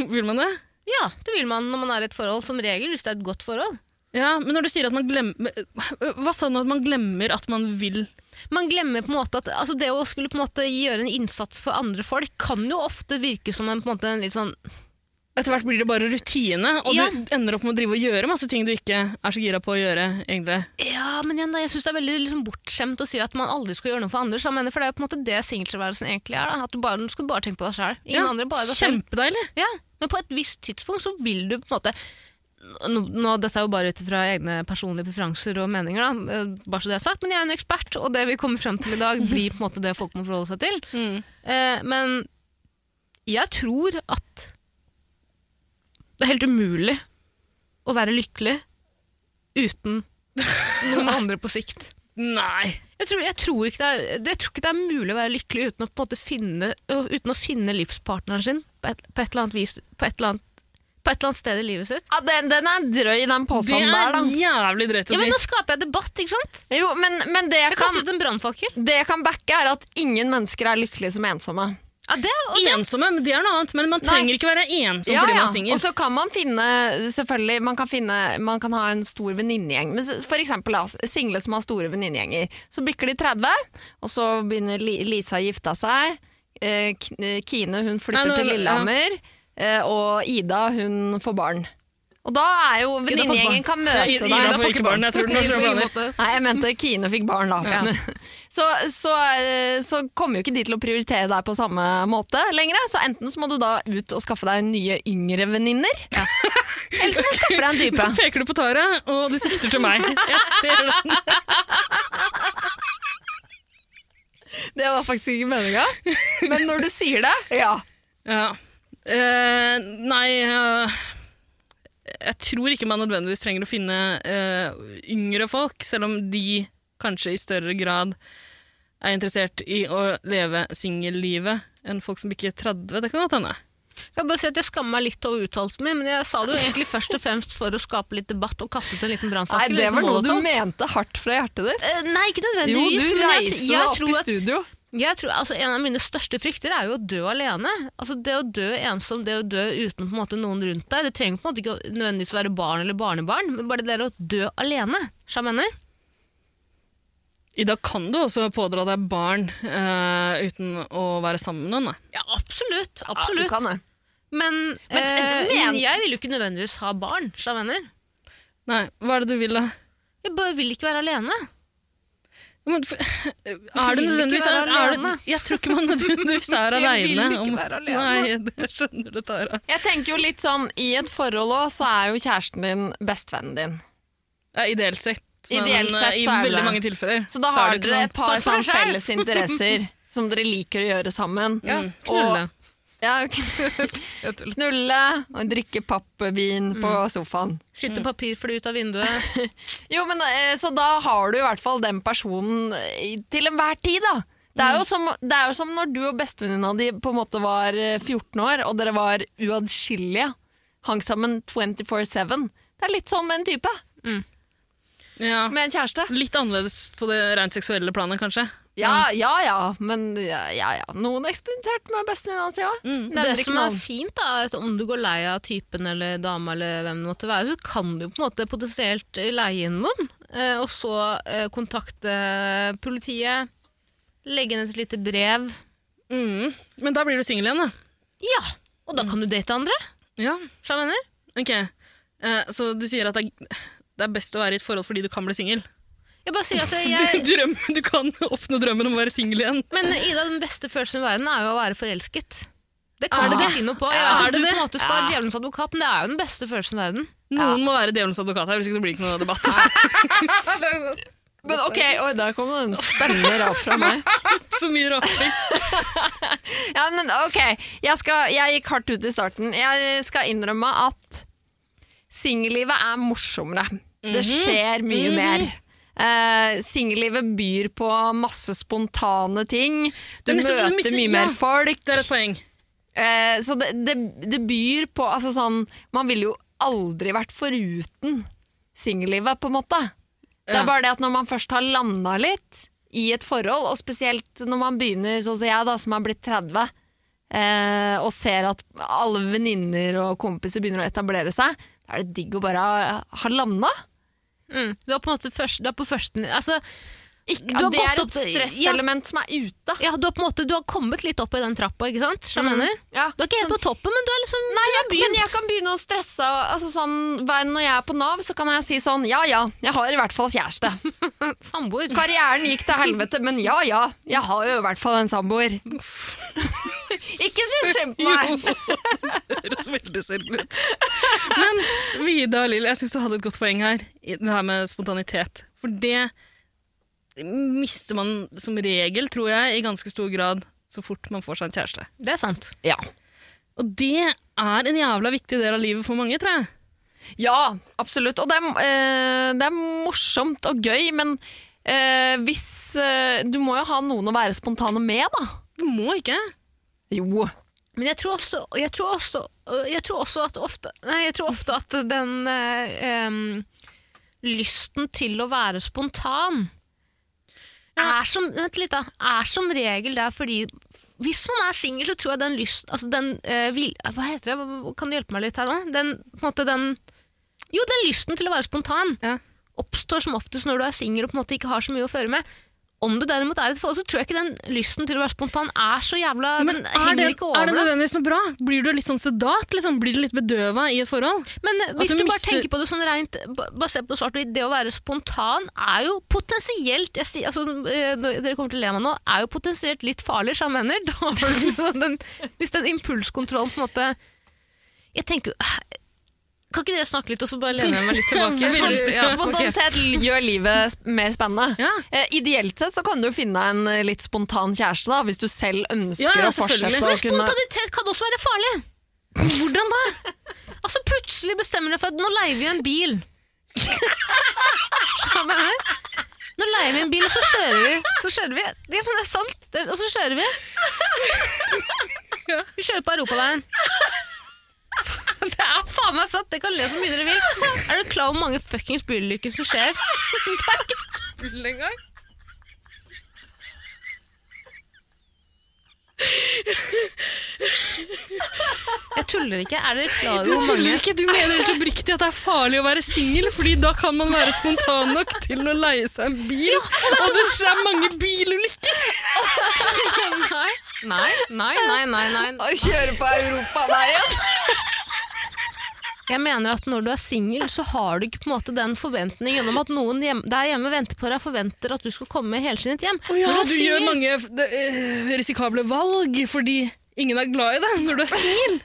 Vil man det?
Ja, det vil man når man er i et forhold, som regel, hvis det er et godt forhold.
Ja, men når du sier at man glemmer Hva sa du nå? At man glemmer at man vil
Man glemmer på en måte at altså det å skulle på en måte gjøre en innsats for andre folk, kan jo ofte virke som en, på en, måte, en litt sånn
Etter hvert blir det bare rutine, og
Ja.
du ender opp med å drive og gjøre masse ting du ikke er så gira på å gjøre, egentlig.
Ja, men igjen da, jeg syns det er veldig liksom, bortskjemt å si at man aldri skal gjøre noe for andre. Så jeg mener, for det er jo på en måte det singeltilværelsen egentlig er. Da. At du, bare, du skal bare tenke på deg sjæl. Ingen
Ja,
andre, bare deg selv.
Kjempedeilig!
Ja, men på et visst tidspunkt så vil du på en måte nå, nå, Dette er jo bare ut fra egne personlige preferanser og meninger, da, eh, bare så det er sagt, men jeg er en ekspert, og det vi kommer frem til i dag, blir på en måte det folk må forholde seg til.
Mm.
Eh, men jeg tror at det er helt umulig å være lykkelig uten noen andre på sikt.
Nei!
Jeg tror, jeg, tror ikke det er, jeg tror ikke det er mulig å være lykkelig uten å, på en måte finne, ø, uten å finne livspartneren sin på et, på et eller annet vis, på et eller annet, på et eller annet sted i livet sitt.
Ja, den, den er drøy, den
Det
påstanden der,
er
da.
jævlig drøyt å
Sånn Ja, men
si.
Nå skaper jeg debatt, ikke sant?
Jo, men, men det, jeg
Jeg
kan,
kastet en brannfakkel.
det jeg kan backe, er at ingen mennesker er lykkelige som ensomme.
Ensomme, men det er noe annet. Men man
Nei.
trenger ikke være ensom
Ja,
fordi man
ja.
er singel.
Og så kan man finne Selvfølgelig, man kan, finne, man kan ha en stor venninnegjeng. Men s- for eksempel da, single som har store venninnegjenger. Så bikker de 30, og så begynner Li- Lisa å gifte seg. eh, K- eh, Kine hun flytter
Nei, nå-
til Lillehammer, eh, og Ida hun får barn. Og da er jo venninnegjengen kan møte
Nei,
deg.
Ida får ikke barn. Jeg tror den har
På
slått
ingen
blander.
måte.
Nei, jeg mente Kine fikk barn, da.
Ja.
Så, så, eh, så kommer jo ikke de til å prioritere deg på samme måte lenger. Så enten så må du da ut og skaffe deg nye yngre venninner, eller så må du skaffe deg en dype.
Nå feker du på Tara, og du sikter til meg. Jeg ser den.
Det var faktisk ikke meninga, men når du sier det, ja.
Ja. Eh, nei eh, Jeg tror ikke man nødvendigvis trenger å finne eh, yngre folk, selv om de kanskje i større grad er interessert i å leve singellivet enn folk som bikker 30. Det kan godt hende.
Jeg vil bare si at jeg skammer meg litt over uttalelsen min, men jeg sa det jo egentlig først og fremst for å skape litt debatt og kaste ut en liten
Nei,
brannfakkel. en
det
liten
var noe du
molotov.
mente hardt fra hjertet ditt.
sånn. Eh, Nei, ikke
Jo,
nødvendigvis.
du
men jeg-
reiste
jeg
deg
tror
opp i
at-
studio.
Jeg tror, altså, en av mine største frykter er jo å dø alene. Altså, det å dø ensom, det å dø uten på en måte, noen rundt deg, det trenger på en måte ikke å- nødvendigvis å være barn eller barnebarn, men bare det der å dø alene. Så jeg mener.
Ida, kan du også pådra deg barn eh, uten å være sammen med noen? da?
Ja, absolutt.
Ja,
absolutt.
du kan det.
men,
Men-
eh,
men-
men jeg vil jo ikke nødvendigvis ha barn, så jeg mener.
Nei, hva er det du vil, da?
Jeg bare vil ikke være alene.
Ja, Men, for, er
vil
du
ikke
nødvendigvis
være
er, er du,
alene.
Jeg tror ikke man nødvendigvis er
Jeg vil
aleine.
ikke være alene.
Nei, det skjønner du, Tara.
Jeg tenker jo litt sånn, I et forhold òg, så er jo kjæresten din bestevennen din.
Ja, ideelt sett. Men
Ideelt
eh,
sett
i
så er det
veldig
det.
mange tilfeller.
Så da
så er
har
det ikke
dere
sånn.
et par
Sagt for
sånn
deg selv.
felles interesser som dere liker å gjøre sammen.
Mm.
Knulle.
Og, ja, knulle og drikke pappvin på
Mm.
sofaen.
Skyte papirfly ut av vinduet.
Jo, men eh, Så da har du i hvert fall den personen eh, i- til enhver tid, da. Det
Mm.
er, jo som, det er jo som når du og bestevenninna di på en måte var eh, 14 år, og dere var uatskillelige. Hang sammen 24-7. Det er litt sånn med en type.
Ja.
Med en kjæreste.
Litt annerledes på det rent seksuelle planet, kanskje.
Ja,
Mm.
ja, ja. Men ja, ja, ja. noen eksperimenterte med bestevenninna si òg.
Mm. Det som er fint, da, er at om du går lei av typen eller dama eller hvem det måtte være, så kan du på en måte potensielt leie inn noen, eh, og så eh, kontakte politiet, legge inn et lite brev.
Mm. Men da blir du singel igjen, da.
Ja! Og da kan du date andre,
Ja.
så jeg mener.
Ok. Eh, så du sier at det er, det er best å være i et forhold fordi du kan bli singel?
Jeg bare sier at
Du,
jeg...
drøm- du kan oppnå drømmen om å være singel igjen?
Men Ida, den beste følelsen i verden er jo å være forelsket. Det
Er
kan du
det
ikke
det?
si noe på. Jeg
Ja,
vet
er
at
det
du på
det?
en måte spør djevelens advokat, men det er jo den beste følelsen i verden.
Noen må være djevelens advokat her, hvis ikke så blir det ikke noe debatt.
Men ok, oi, der kom det en spennende rap fra meg.
så mye raping.
Ja, men ok, jeg, skal, jeg gikk hardt ut i starten. Jeg skal innrømme at singellivet er morsommere. Det skjer mye mer. Uh, singellivet byr på masse spontane ting. Du
Det er nettopp-
møter
du mister-
mye
ja.
mer folk.
Det er et poeng.
Eh, så det, det, det byr på altså sånn, Man ville jo aldri vært foruten singellivet, på en måte. Det
Ja.
er bare det at når man først har landa litt i et forhold, og spesielt når man begynner, sånn som jeg, da, som er blitt 30, eh, og ser at alle venninner og kompiser begynner å etablere seg, da er det digg å bare ha, ha landa.
Mm. Du er på en måte først, du er på første... Altså,
Ikke-
Du har
Det
gått
er
opp-
et stresselement som er ute.
ja, du, har på en måte, du har kommet litt opp i den trappa, ikke sant? Så jeg mener.
Ja.
Du er ikke helt på toppen, men du er liksom
Sånn- Nei, jeg, men jeg kan begynne å stresse. Altså sånn, hver- når jeg er på Nav, så kan jeg si sånn Ja ja, jeg har i hvert fall kjæreste.
samboer.
Karrieren gikk til helvete, men ja ja, jeg har jo i hvert fall en samboer. Ikke så kjemp meg!
Det høres veldig sørgelig ut. Men Vida og Lill, jeg syns du hadde et godt poeng her, i det her med spontanitet. For det mister man som regel, tror jeg, i ganske stor grad så fort man får seg en kjæreste.
Det er sant.
Ja.
Og det er en jævla viktig del av livet for mange, tror jeg.
Ja, absolutt. Og det er, eh, det er morsomt og gøy, men eh, hvis eh, Du må jo ha noen å være spontane med, da.
Du må ikke.
Jo.
Men jeg tror også, og jeg tror også, og jeg tror også at ofte Nei, jeg tror ofte at den eh, em, lysten til å være spontan er som, vent litt da, er som regel der fordi hvis man er singel, så tror jeg den lyst altså den, eh, vil, Hva heter det? Hva- Kan du hjelpe meg litt her nå? Den, på en måte den, jo, den lysten til å være spontan
Ja.
oppstår som oftest når du er singel og på en måte ikke har så mye å føre med. Om det derimot er et forhold, så tror jeg ikke den lysten til å være spontan er så jævla
Men
den
er
henger
det,
ikke
er
over deg.
det nødvendigvis noe bra? Blir du litt sånn sedat? Liksom? Blir du litt bedøva i et forhold?
Men hvis
du
du, bare
mister-
tenker på det sånn rent ba- basert på svart-hvitt, det å være spontan er jo potensielt jeg sier, altså, eh, nå- Dere kommer til å le meg nå. Er jo potensielt litt farlig, sa jeg mener. Da har du jo den, hvis den impulskontrollen på en måte Jeg tenker jo eh, Kan ikke dere snakke litt, og så bare lener jeg meg litt tilbake?
Vil du-
Ja, ok.
Spontanitet gjør livet sp- mer spennende.
Ja.
Eh, ideelt sett så kan du finne en eh, litt spontan kjæreste, da, hvis du selv ønsker
Ja, ja,
å fortsette
selvfølgelig.
Men
å kunne
spontanitet kan også være farlig.
Hvordan da?
Altså Plutselig bestemmer jeg for at nå leier vi en bil. Hva mener du? Nå leier vi en bil, og så kjører vi. Så kjører vi. Ja, men det er sant. Det, og så kjører vi. Vi kjører på europaveien. Det er faen meg sant! Dere kan le så mye dere vil. Er du klar over hvor mange fuckings bilulykker som skjer? Det er ikke tull engang. Jeg tuller ikke. Er dere klar over
Du
hvor mange
tuller ikke, du mener helt oppriktig at det er farlig å være singel, fordi da kan man være spontan nok til å leie seg en bil, og det skjer mange bilulykker.
Nei, nei, nei, nei, nei, nei.
Å kjøre på europaveien!
Jeg mener at når du er singel, så har du ikke på en måte den forventningen om at noen hjem, der hjemme venter på deg, forventer at du skal komme helskinnet hjem.
Ja,
Når
du
er
gjør
singel-
mange f- det, eh, risikable valg, fordi ingen er glad i deg når du er singel.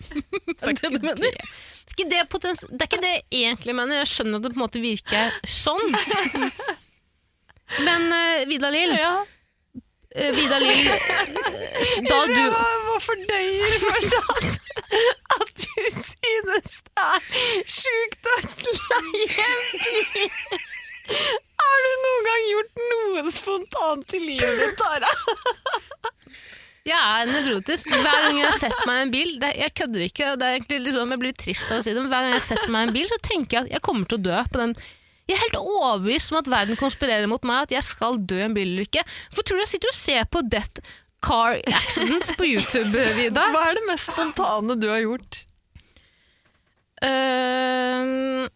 Er det det du mener?
det, er ikke det, potens- det er ikke det jeg egentlig mener, jeg skjønner at det på en måte virker sånn. Men uh, Vidar Lill,
Ja.
eh, Vidar Lill eh, da
Jeg
du,
bare må fordøye fortsatt at du synes det er sjukt å leie en bil. Har du noen gang gjort noe spontant i livet ditt, Tara?
Jeg er nevrotisk. Hver gang jeg setter meg i en bil det, Jeg kødder ikke. Det er egentlig litt sånn, jeg blir trist av å si det, men hver gang jeg setter meg i en bil, så tenker jeg at jeg kommer til å dø på den. Jeg er helt overbevist om at verden konspirerer mot meg, at jeg skal dø i en bilulykke. For tror du jeg sitter og ser på Death Car Accidents på YouTube, Vida?
Hva er det mest spontane du har gjort?
Øhm,
Ehm,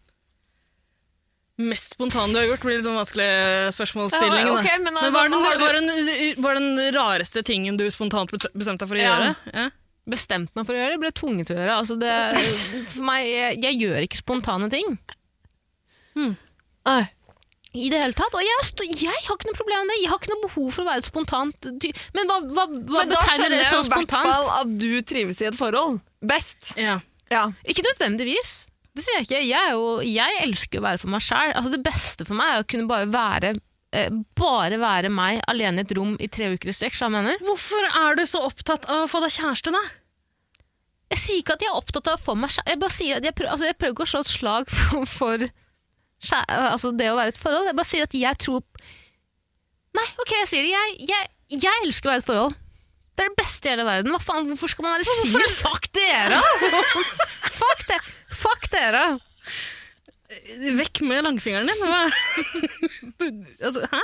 Mest spontane du har gjort, blir litt sånn vanskelig spørsmålsstilling.
Ja,
da.
ok, men
men
altså,
hva er den,
har du-
hva er den, hva er den rareste tingen du spontant bes- bestemte deg for å
Ja.
gjøre? Ja.
bestemt meg for å gjøre det, ble tvunget til å gjøre det. altså det. For meg, jeg, jeg gjør ikke spontane ting.
Nei.
Hmm. I det hele tatt. Og jeg, sto- jeg har ikke noe problem med det. Jeg har ikke noe behov for å være et spontant ty- Men hva, hva, hva
Men da
betegner
skjønner
det
jeg jo
som
i hvert fall
spontant?
at du trives i et forhold. Best.
Ja.
Ja.
Ikke nødvendigvis. Det sier jeg ikke. Jeg, er jo, jeg elsker å være for meg sjæl. Altså, det beste for meg er å kunne bare være eh, bare være meg alene i et rom i tre uker i strekk. skjønner du hva Jeg, mener.
Hvorfor er du så opptatt av å få deg kjæreste, da?
jeg sier ikke at jeg er opptatt av å få meg sjæl. Jeg, bare sier at jeg, prøver, altså, jeg prøver ikke å slå et slag for, for skjæ- altså, det å være i et forhold. Jeg bare sier at jeg tror Nei, ok, jeg sier det. Jeg, jeg, jeg elsker å være i et forhold. Det er det beste i hele verden. Hva faen, hvorfor skal man være singel? Fuck dere! Fuck, det. Fuck dere!
Vekk med langfingeren din. Hva? altså, hæ?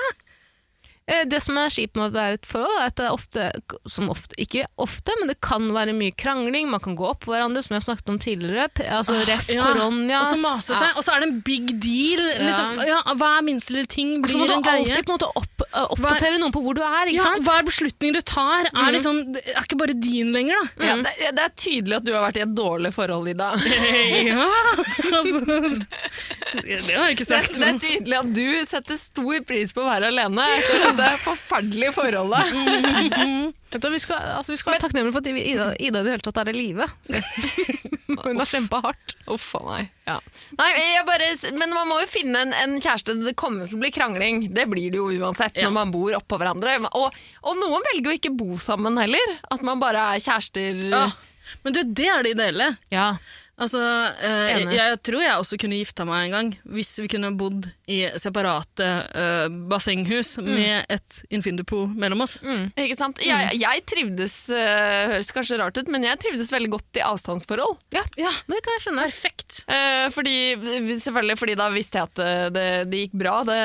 Eh, Det som er kjipt med å være i et forhold, er at det er ofte, som ofte, ikke ofte, men det kan være mye krangling, man kan gå opp på hverandre, som jeg snakket om tidligere. P- Altså ref,
ja.
korona.
Og så masete, og så er det en big deal. Liksom, ja, hva er minste lille ting
Og så
blir
må du
en
alltid
greie.
på en måte opp, eh, oppdatere noen på hvor du er, ikke
Ja,
sant? Mm.
hver beslutning du tar, er, liksom, er ikke bare din lenger, da.
Ja, det, det er tydelig at du har vært i et dårlig forhold, Ida.
Ja, altså, det har jeg ikke
Det,
sagt.
det
Men.
er tydelig at du setter stor pris på å være alene etter det forferdelige forholdet.
Vet du, vi skal, altså, vi skal være takknemlige for at Ida, Ida i det hele tatt er i live. Så- Hun har kjempa hardt.
Uff a meg. Ja. Nei, jeg bare, men man må jo finne en, en kjæreste. Det kommer til å bli krangling. Det blir det jo uansett når man bor oppå hverandre. Og, og noen velger jo ikke bo sammen heller. At man bare er kjærester.
Ja. Men du, det er det ideelle.
Ja.
Altså, eh, jeg,
Enig.
jeg tror jeg også kunne gifta meg en gang, hvis vi kunne bodd i separate eh, bassenghus
Mm.
med et infindupo mellom oss.
Mm, Ikke sant? Jeg, jeg trivdes, eh, høres kanskje rart ut, men jeg trivdes veldig godt i avstandsforhold.
ja. Men det kan jeg skjønne.
Perfekt.
Eh, fordi, selvfølgelig fordi da visste jeg at eh, det, det gikk bra, det,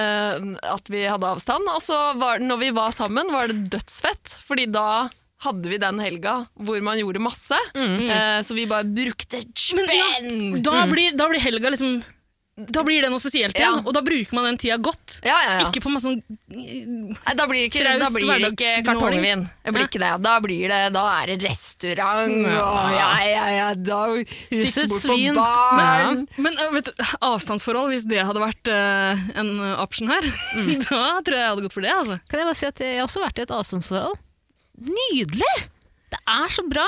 at vi hadde avstand. Og så var, når vi var sammen, var det dødsfett, fordi da hadde vi den helga hvor man gjorde masse. Eh, så vi bare brukte
Mm. Men ja,
spenn!
da, blir, da blir helga liksom da blir det noe spesielt igjen,
Ja.
og da bruker man den tida godt.
Ja, ja, ja.
Ikke på masse sånn
Nei, da blir det ikke,
Traust
da blir det ikke
hverdagsgnåling.
kartongvin. Det blir ikke det. Da, blir det, da er det restaurant og ja, ja, ja, da stikke
Stikket
bort
svin.
på baren.
Men-
Men øh, vet du, avstandsforhold, hvis det hadde vært øh, en øh, option her,
Mm.
da tror jeg jeg hadde gått for det. altså.
Kan jeg bare si at jeg har også vært i et avstandsforhold? Nydelig! Det er så bra!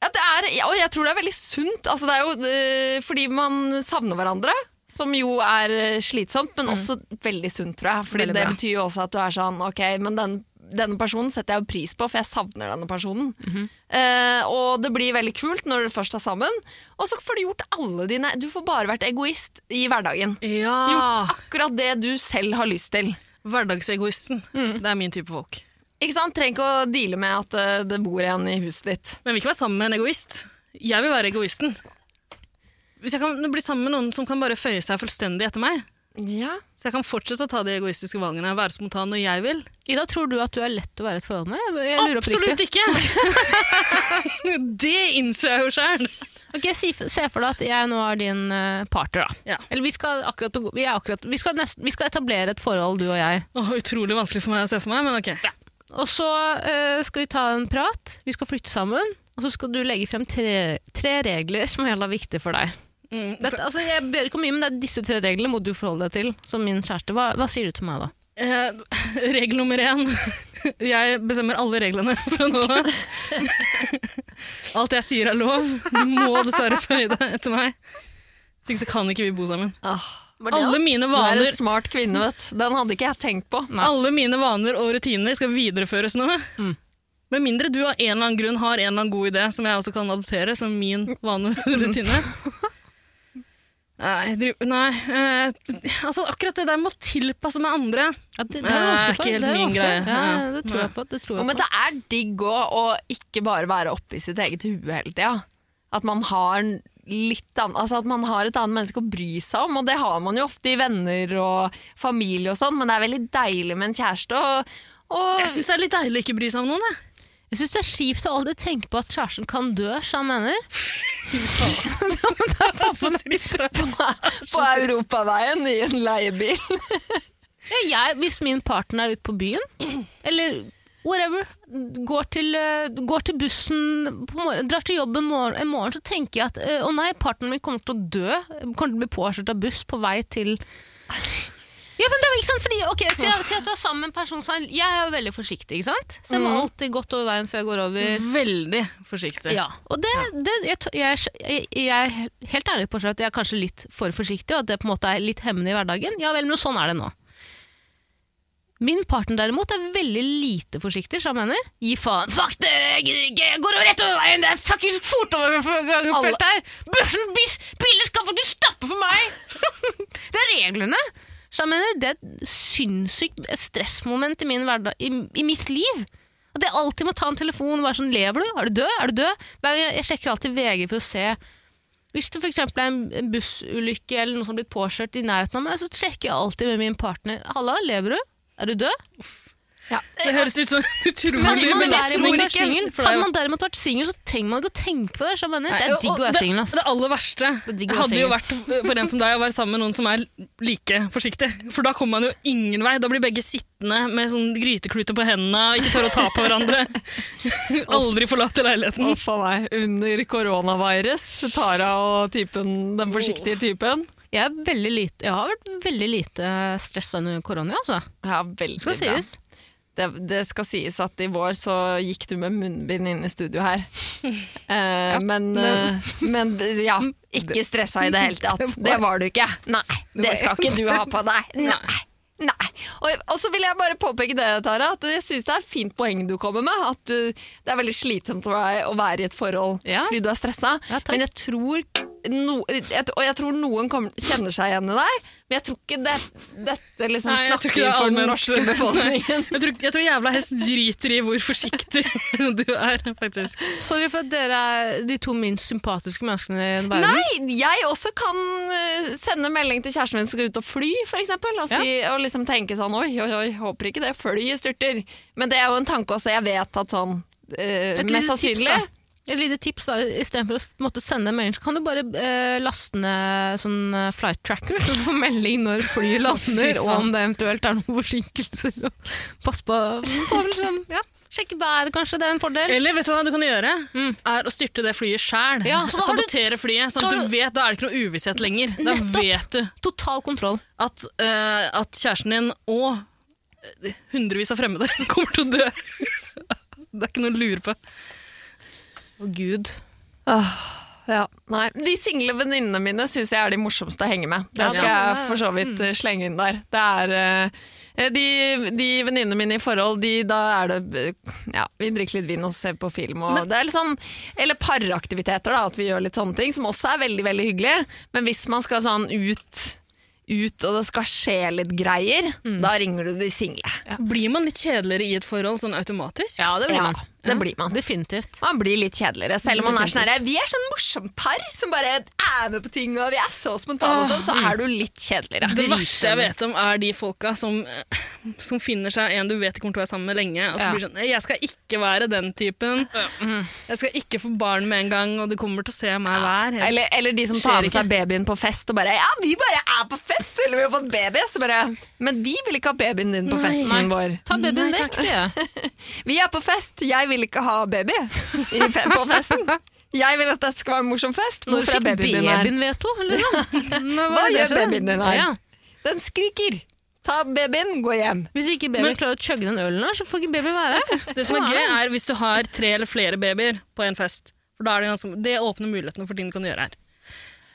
Ja, det er, ja, og jeg tror det er veldig sunt. Altså, det er jo øh, fordi man savner hverandre, som jo er øh, slitsomt, men også veldig sunt, tror jeg. Fordi
Mm. Veldig
det
bra.
betyr jo også at du er sånn Ok, men den, denne personen setter jeg jo pris på, for jeg savner denne personen.
Mhm.
Eh, og det blir veldig kult når dere først er sammen. Og så får du gjort alle dine Du får bare vært egoist i hverdagen. Gjort
Ja,
akkurat det du selv har lyst til.
Hverdagsegoisten. Det er min type folk.
Ikke sant? Trenger ikke å deale med at øh, det bor en i huset ditt.
Men jeg vil ikke være sammen med en egoist. Jeg vil være egoisten. Hvis jeg kan bli sammen med noen som kan bare føye seg fullstendig etter meg,
Ja.
så jeg kan fortsette å ta de egoistiske valgene, være spontan når jeg vil
Ida, tror du at du er lett å være i et forhold med? Jeg- Jeg lurer
Absolutt
oppriktig.
ikke! det innser jeg jo sjøl.
Ok, si, Se for deg at jeg nå er din eh, partner. da.
Ja.
Eller vi skal, akkurat, vi, er akkurat, vi, skal nesten, vi skal etablere et forhold, du og jeg.
Åh, utrolig vanskelig for meg å se for meg, men ok.
Og så eh, skal vi ta en prat, vi skal flytte sammen, og så skal du legge frem tre, tre regler som er jævla viktige for deg.
Mm, så-
Dette, altså, jeg ber ikke om mye, men det er disse tre reglene må du forholde deg til som min kjæreste. Hva, hva sier du til meg da?
Eh, regel nummer én. Jeg bestemmer alle reglene fra nå av. Alt jeg sier er lov. Du må dessverre føye deg etter meg. Hvis ikke så kan ikke vi bo sammen.
Ah.
Alle mine
Du er
vaner,
en smart kvinne, vet du. Den hadde ikke jeg tenkt på.
alle mine vaner og rutiner skal videreføres nå. Med mindre du av en eller annen grunn har en eller annen god idé som jeg også kan adoptere som min vane og rutine. Nei, driv, nei eh, altså akkurat det der med å tilpasse meg andre
Ja, det,
Eh,
vanskelig for-
ikke helt
det er
min
vanskelig.
greie.
Ja,
Ja.
det tror jeg på. Det tror
Jo,
jeg
men
på.
det er digg òg å ikke bare være oppe i sitt eget hue hele tida. At man har litt annet, altså at man har et annet menneske å bry seg om, og det har man jo ofte i venner og familie og sånn, men det er veldig deilig med en kjæreste. Og, og
Jeg syns det er litt deilig å ikke bry seg om noen. Jeg.
Jeg syns det er kjipt å aldri tenke på at kjæresten kan dø, som han mener.
Så trist.
på europaveien i en leiebil.
Ja, jeg, hvis min partner er ute på byen, eller whatever, går til, eh, går til bussen, på morgen, drar til jobben morgen, en morgen, så tenker jeg at eh, å nei, partneren min kommer til å dø. Kommer til å bli påkjørt av buss på vei til ja, men det er jo ikke sant, fordi, ok, Si at- si at du er sammen med en person som er- Jeg er jo veldig forsiktig, ikke sant? Så jeg må alltid gått over veien før jeg går over.
Veldig forsiktig.
Ja, og det, det, jeg, t- jeg, jeg, jeg er helt ærlig på seg at jeg er kanskje litt for forsiktig, og at det på en måte er litt hemmende i hverdagen. Ja vel, men sånn er det nå. Min partner derimot er veldig lite forsiktig, så jeg mener. Gi faen. Fuck dere, jeg gidder ikke! Jeg går over rett over veien! Det er fuckings
Alle-
fotovergangsfelt her! Bussen, bis, biler skal faktisk stappe for meg! det er reglene! Så jeg mener, det er et sinnssykt stressmoment i, min hverdag, i, i mitt liv. At jeg alltid må ta en telefon og være sånn Lever du? Er du død? Er du død? Hver gang jeg, jeg sjekker alltid VG for å se Hvis det for eksempel er en- en bussulykke eller noen som har blitt påkjørt i nærheten av meg, så sjekker jeg alltid med min partner. Halla, lever du? Er du død?
Det høres ut som en utrolig
Hadde man
belastning.
derimot vært singel,
for deg.
hadde man derimot vært singel, så trenger man ikke å tenke på det. Så jeg mener, det
Nei,
er
og-
digg å
og
være
det-
singel. altså. ass.
Det aller verste
er digg å være
hadde jo vært for en som deg å være sammen med noen som er like forsiktig. For da kommer man jo ingen vei. Da blir begge sittende med sånn grytekluter på hendene og ikke tør å ta på hverandre. Aldri forlate leiligheten.
Uff a meg. Under koronavirus, Tara og typen, den forsiktige typen.
Jeg, er veldig lite, jeg har vært veldig lite stressa under korona, altså.
Ja, veldig
Skal
bra.
sies.
det, det skal sies at i vår så gikk du med munnbind inn i studio her. Eh, men, eh, men ja, ikke stressa i det hele tatt. Det var du ikke. Nei, det skal ikke du ha på deg. Nei. Nei. Og, og så vil jeg bare påpeke det, Tara, at jeg syns det er et fint poeng du kommer med. At du, det er veldig slitsomt for deg å være i et forhold
Ja.
fordi du er stressa.
Ja, takk.
men jeg tror no, jeg, og jeg tror noen kommer, kjenner seg igjen i deg, men jeg tror ikke det, dette liksom
Nei, jeg tror ikke det
snakker
er
for
allment-
den norske befolkningen.
Jeg tror, jeg tror jævla hest driter i hvor forsiktig du er, faktisk.
Sorry for at dere er de to minst sympatiske menneskene i verden.
Nei, jeg også kan eh, sende melding til kjæresten min som skal ut og fly, for eksempel, og, si, og liksom tenke sånn oi, oi, oi, håper ikke det flyet styrter. Men det er jo en tanke også, jeg vet at sånn eh,
Et lite
mest
tips,
sannsynlig
da. Et lite tips da, istedenfor å s- måtte sende en melding, så kan du bare eh, laste ned sånn eh, flight tracker, så du får melding når flyet lander, og om det eventuelt er noen forsinkelser. og Pass på du får vel sånn, ja, Sjekke været, kanskje. Det er en fordel.
Eller vet du hva du kan gjøre?
Mm.
Er å styrte det flyet sjæl.
Ja, så da har du-
Sabotere flyet. Sånn
Da
at
har
du vet, da er det ikke noe uvisshet lenger. Da
Nettopp.
vet du
Total kontroll.
at, eh, at kjæresten din og eh, hundrevis av fremmede kommer til å dø. Det er ikke noe å lure på.
Å, gud.
Ja, nei. De single venninnene mine syns jeg er de morsomste å henge med. Det
Ja,
skal
ja.
jeg for så
Mm.
vidt eh, slenge inn der. Det er eh, De, de venninnene mine i forhold, de, da er det eh, Ja, vi drikker litt vin og ser på film og det er litt sånn Eller paraktiviteter, da, at vi gjør litt sånne ting, som også er veldig, veldig hyggelig. Men hvis man skal sånn ut ut, og det skal skje litt greier,
Mm.
da ringer du de single.
Blir man litt kjedeligere i et forhold sånn automatisk?
Ja, det blir
Ja,
man.
det blir man.
Definitivt.
Man blir litt kjedeligere, selv om man er sånn her, Vi er sånn morsomt par som bare er med på ting, og vi er så spontane og sånn, så er du litt kjedeligere.
Det verste jeg vet om, er de folka som, eh, som finner seg en du vet de kommer til å være sammen med lenge. Og så
Ja. mhm.
blir det sånn, Jeg skal ikke være den typen. Jeg skal ikke få barn med en gang, og du kommer til å se meg hver. hele
Eller, eller de som
Skjer
tar med
ikke.
seg babyen på fest og bare Ja, vi bare er på fest, selv om vi har fått baby. Så bare Men vi vil ikke ha babyen din på
Nei.
festen vår.
Ta babyen
Nei, takk.
vekk, sier jeg.
Vi er på fest, jeg vil ikke ha baby i fe på festen. Jeg vil at dette skal være en morsom fest.
Når
Hvorfor
fikk
er babyen din her?
babyen veto? Eller noe? Nå,
Hva
er det
gjør
som skjer?
babyen din her?
Ja.
Den skriker. Ta babyen, gå hjem.
Hvis ikke babyen klarer å chugge den ølen, her, så får ikke babyen være her.
Det som er gøy, er hvis du har tre eller flere babyer på en fest. For da er Det ganske, det åpner mulighetene for ting du kan gjøre her.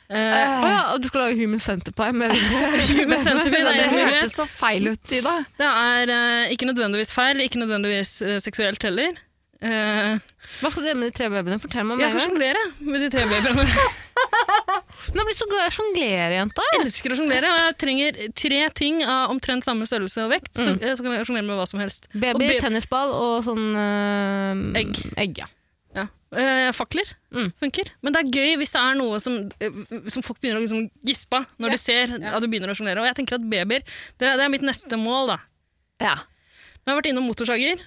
Ah.
Eh,
Å ja, og du skulle ha Human Centipie med
Human Centipede,
Det
det er mulighet.
hørtes så feil ut, Ida.
det er eh, ikke nødvendigvis feil, ikke nødvendigvis eh, seksuelt heller. Eh,
Hva skal du gjøre med de tre babyene? Fortell meg om
jeg skal
en gang.
sjonglere med de tre babyene.
Hun har blitt så glad i å sjonglere, jenta.
Jeg elsker å sjonglere, og jeg trenger tre ting av omtrent samme størrelse og vekt. Så, eh, så kan jeg sjonglere med hva som helst. Og
Baby,
be-
tennisball og sånn eh,
Egg.
egg ja.
Ja. Eh, fakler
Mm.
funker. Men det er gøy hvis det er noe som, eh, som folk begynner å liksom gispe av når de ser at du begynner å sjonglere. Og jeg tenker at babyer det, det er mitt neste mål, da.
Ja.
Nå har jeg vært innom motorsager.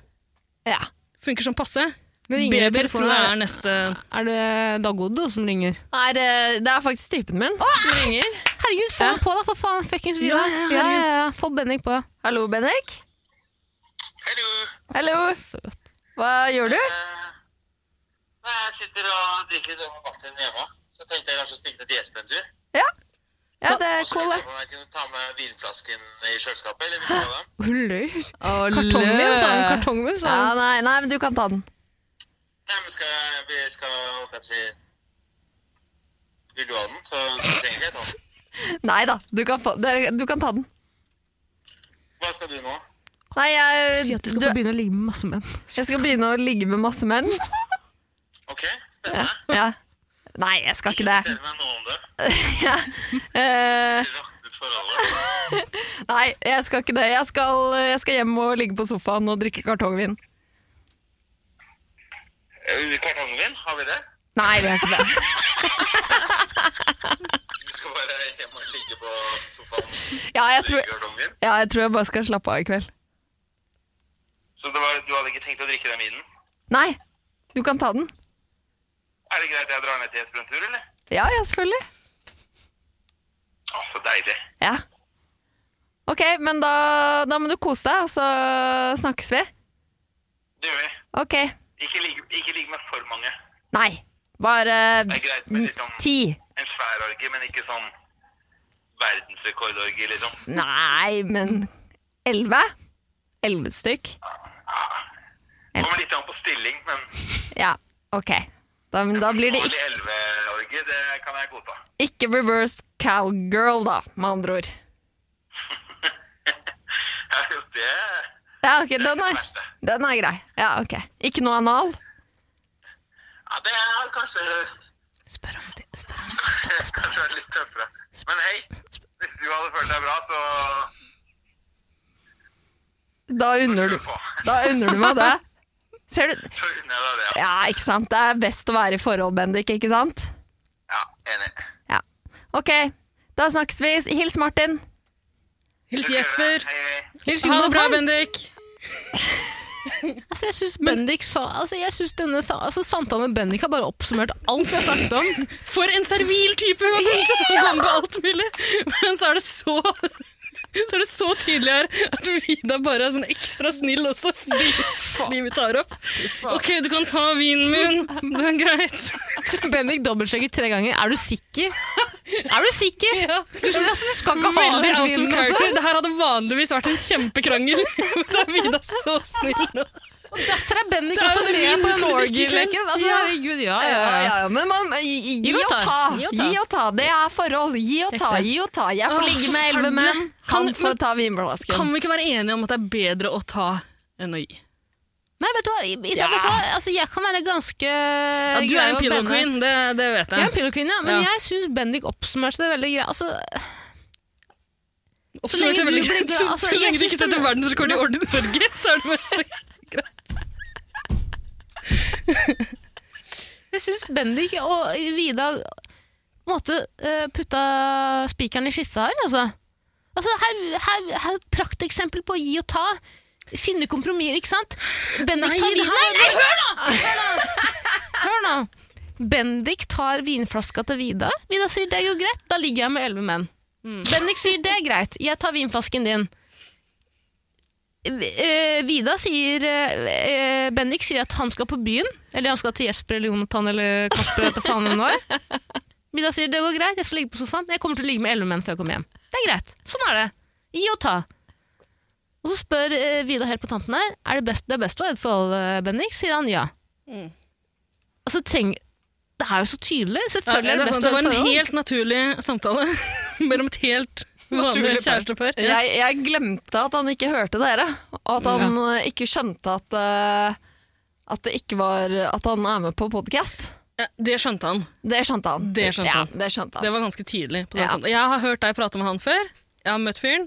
ja.
Funker som passe.
Nå ringer det i
Babyer tror
telefonen.
jeg er neste
Er det Dag Oddo som ringer?
Nei, det, det er faktisk typen min som ringer.
Herregud, få han på, da! For faen, fuckings video.
Ja, ja,
ja,
herregud.
ja, ja. Få Bendik på.
Hallo, Bendik.
Hallo.
Hallo.
Søt.
Hva gjør du?
Eh, Nei, jeg sitter og drikker litt med Martin hjemme. Så tenkte jeg kanskje å stikke ned til Espen en tur.
Ja, det
Og
er
så
cool,
lurte
det.
jeg på om jeg kunne ta med vinflasken i kjøleskapet. eller noe av dem.
Hulløy.
lø.
Kartongen, sa han. Kartongen, sa
Ja,
han.
nei, nei, men du kan ta den.
Nei, men skal jeg, vi skal holdt jeg på å si Vil du ha den, så trenger ikke jeg ta den.
Nei da, du kan, få, dere- du kan ta den.
Hva skal du nå?
Nei, jeg,
Si at du
du,
skal få begynne å ligge med masse menn.
jeg skal begynne å ligge med masse menn.
OK, spennende.
Ja. Nei, jeg skal ikke det.
Fortell meg noe om det.
Eh,
Det raknet for alle.
nei, jeg skal ikke det. Jeg skal, jeg skal hjem og ligge på sofaen og drikke kartongvin.
Eh, Kartongen, har vi det?
Nei, det er ikke det.
Du skal bare hjem og ligge på sofaen
Ja, jeg
og
tror,
drikke kartongen?
ja, jeg, tror jeg bare skal slappe av i kveld.
Så det var, du hadde ikke tenkt å drikke den vinen?
Nei, du kan ta den.
Er det greit at jeg drar ned til Espen en tur, eller?
Ja, ja, selvfølgelig.
Å, så deilig.
Ja. Ok, men da, da må du kose deg, og så snakkes vi.
Det gjør vi.
Ok.
Ikke ligg ikke ligg med for mange.
Nei, bare
Det er greit med liksom
ti.
en svær orgie, men ikke sånn verdensrekordorgie, liksom.
Nei, men elleve? Elleve stykk?
Kommer litt an på stilling, men
Ja, ok. Da, men da blir det
vanlig elveorgie, det kan jeg godta.
ik- ikke reverse cowgirl, da, med andre ord.
Ja, jo, det er
Ja, ok, den
det
er,
verste.
den er grei. Ja, ok. Ikke noe anal?
Ja, det er kanskje,
Spør om det. Spør om
kanskje litt tøffere. Men hei, hvis du hadde følt deg bra, så
Da unner du,
kjør på.
da unner du meg det. Ser du?
Så unner jeg deg det.
Ja, ikke sant? Det er best å være i forhold, Bendik, ikke sant?
Ja, enig.
Ja. Ok, da snakkes vi. Hils Martin.
Hils Jesper.
Hei, hei.
Hils
Ha det
Jonas
bra,
her.
Bendik.
Altså, jeg syns Bendik sa altså, jeg synes denne, sa- altså, Samtalen med Bendik har bare oppsummert alt vi har snakket om.
For en servil type! Man kan komme på alt mulig. Men så er det så så er det så tydelig her at Vida bare er sånn ekstra snill også. Fordi, fordi vi tar opp. OK, du kan ta vinen min. Det er greit.
Bendik dobbeltsjekker tre ganger. Er du sikker? Er du sikker?
Ja.
Du, skjønner, altså, du skal ikke ha
Veldig
den
out of
lyden,
character.
altså.
Det her hadde vanligvis vært en kjempekrangel. Så er Vida så snill nå.
Altså, Derfor er Bendik
Det er
også
jo det
med
vin
på
man drikker
snorgeleken.
kveld.
Altså,
sånn Ja.
herregud, ja, ja,
Ja,
ja.
ja, ja, men man, gi, gi, og ta. gi og ta. Det er forhold. Gi og ta,
Ekte.
gi og ta. Jeg
Åh,
får ligge med elleve
forferdelig.
menn. Han
Kan- men-
får ta vinblasken.
Kan vi ikke være enige om at det er bedre å ta enn å gi?
Nei, vet du hva, Ida,
Ja.
vet du hva? Altså, jeg kan være ganske
Ja, du
grei
er en
mot
pillow
Bendik.
queen, det, det vet
Jeg er
jeg.
en pillekvinne, ja, men
Ja.
jeg syns Bendik oppsummerte det veldig greit. Altså,
Så
lenge du
lenge, veldig,
blir glad-
så,
altså,
så
jeg
lenge du
synes
ikke setter
det-
verdensrekord i orden i Norge, så er sånn- det bare så greit.
jeg syns Bendik og Vida på en måte eh, putta spikeren i skissa her, altså. Altså, her, her, her er et Prakteksempel på å gi og ta. Finne kompromisser, ikke sant? Bendik
Nei,
tar
det
vin... Nei, nei, hør nå! Hør nå! Hør nå. Bendik tar vinflaska til Vida. Vida sier det er jo greit, da ligger jeg med elleve menn. Bendik sier det er greit, jeg tar vinflasken din. Eh, Vida sier eh, eh, Bendik sier at han skal på byen. Eller han skal til Jesper eller Jonathan eller Kasper. Etter faen hvem det var. Vida sier det går greit, jeg skal ligge på sofaen. Jeg kommer til å ligge med elleve menn før jeg kommer hjem. Det er greit. Sånn er det. Gi og ta. Og så spør eh, Vida helt på tampen her Er det best, det er best å ha et forhold, eh, Bendik. Sier han ja.
Mm.
Altså, tenk Det er jo så tydelig.
Ja,
Selvfølgelig
det,
er
er
det
sant,
best å
det
ha
var
et
en
forhold.
helt naturlig samtale mellom et helt vanlig
Naturlig par.
kjærestepar. Ja.
Jeg, jeg glemte at han ikke hørte dere, og at han eh, ikke skjønte at, eh, at, det ikke var, at han er med på podkast.
Ja, Det skjønte han.
Det skjønte han.
Det skjønte han.
Ja, det skjønte
Det
han.
var ganske tydelig. på den
Ja.
samtalen. Jeg har hørt deg prate med han før. Jeg har møtt fyren.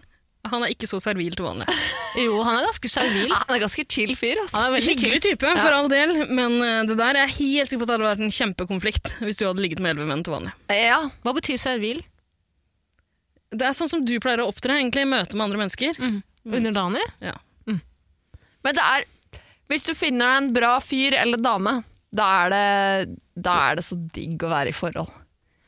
Han er ikke så servil til vanlig.
Jo, han er ganske servil.
Ja, Ah, han er ganske chill fyr. Altså.
Han er veldig
Hyggelig type, for all del, men eh, det der er jeg helt sikker på at det hadde vært en kjempekonflikt hvis du hadde ligget med elleve menn til vanlig.
Ja,
Hva betyr servil?
Det er sånn som du pleier å opptre egentlig i møte med andre mennesker.
Mm. Underdanig?
Ja.
men det er Hvis du finner deg en bra fyr eller dame, da er det, da er det så digg å være i forhold.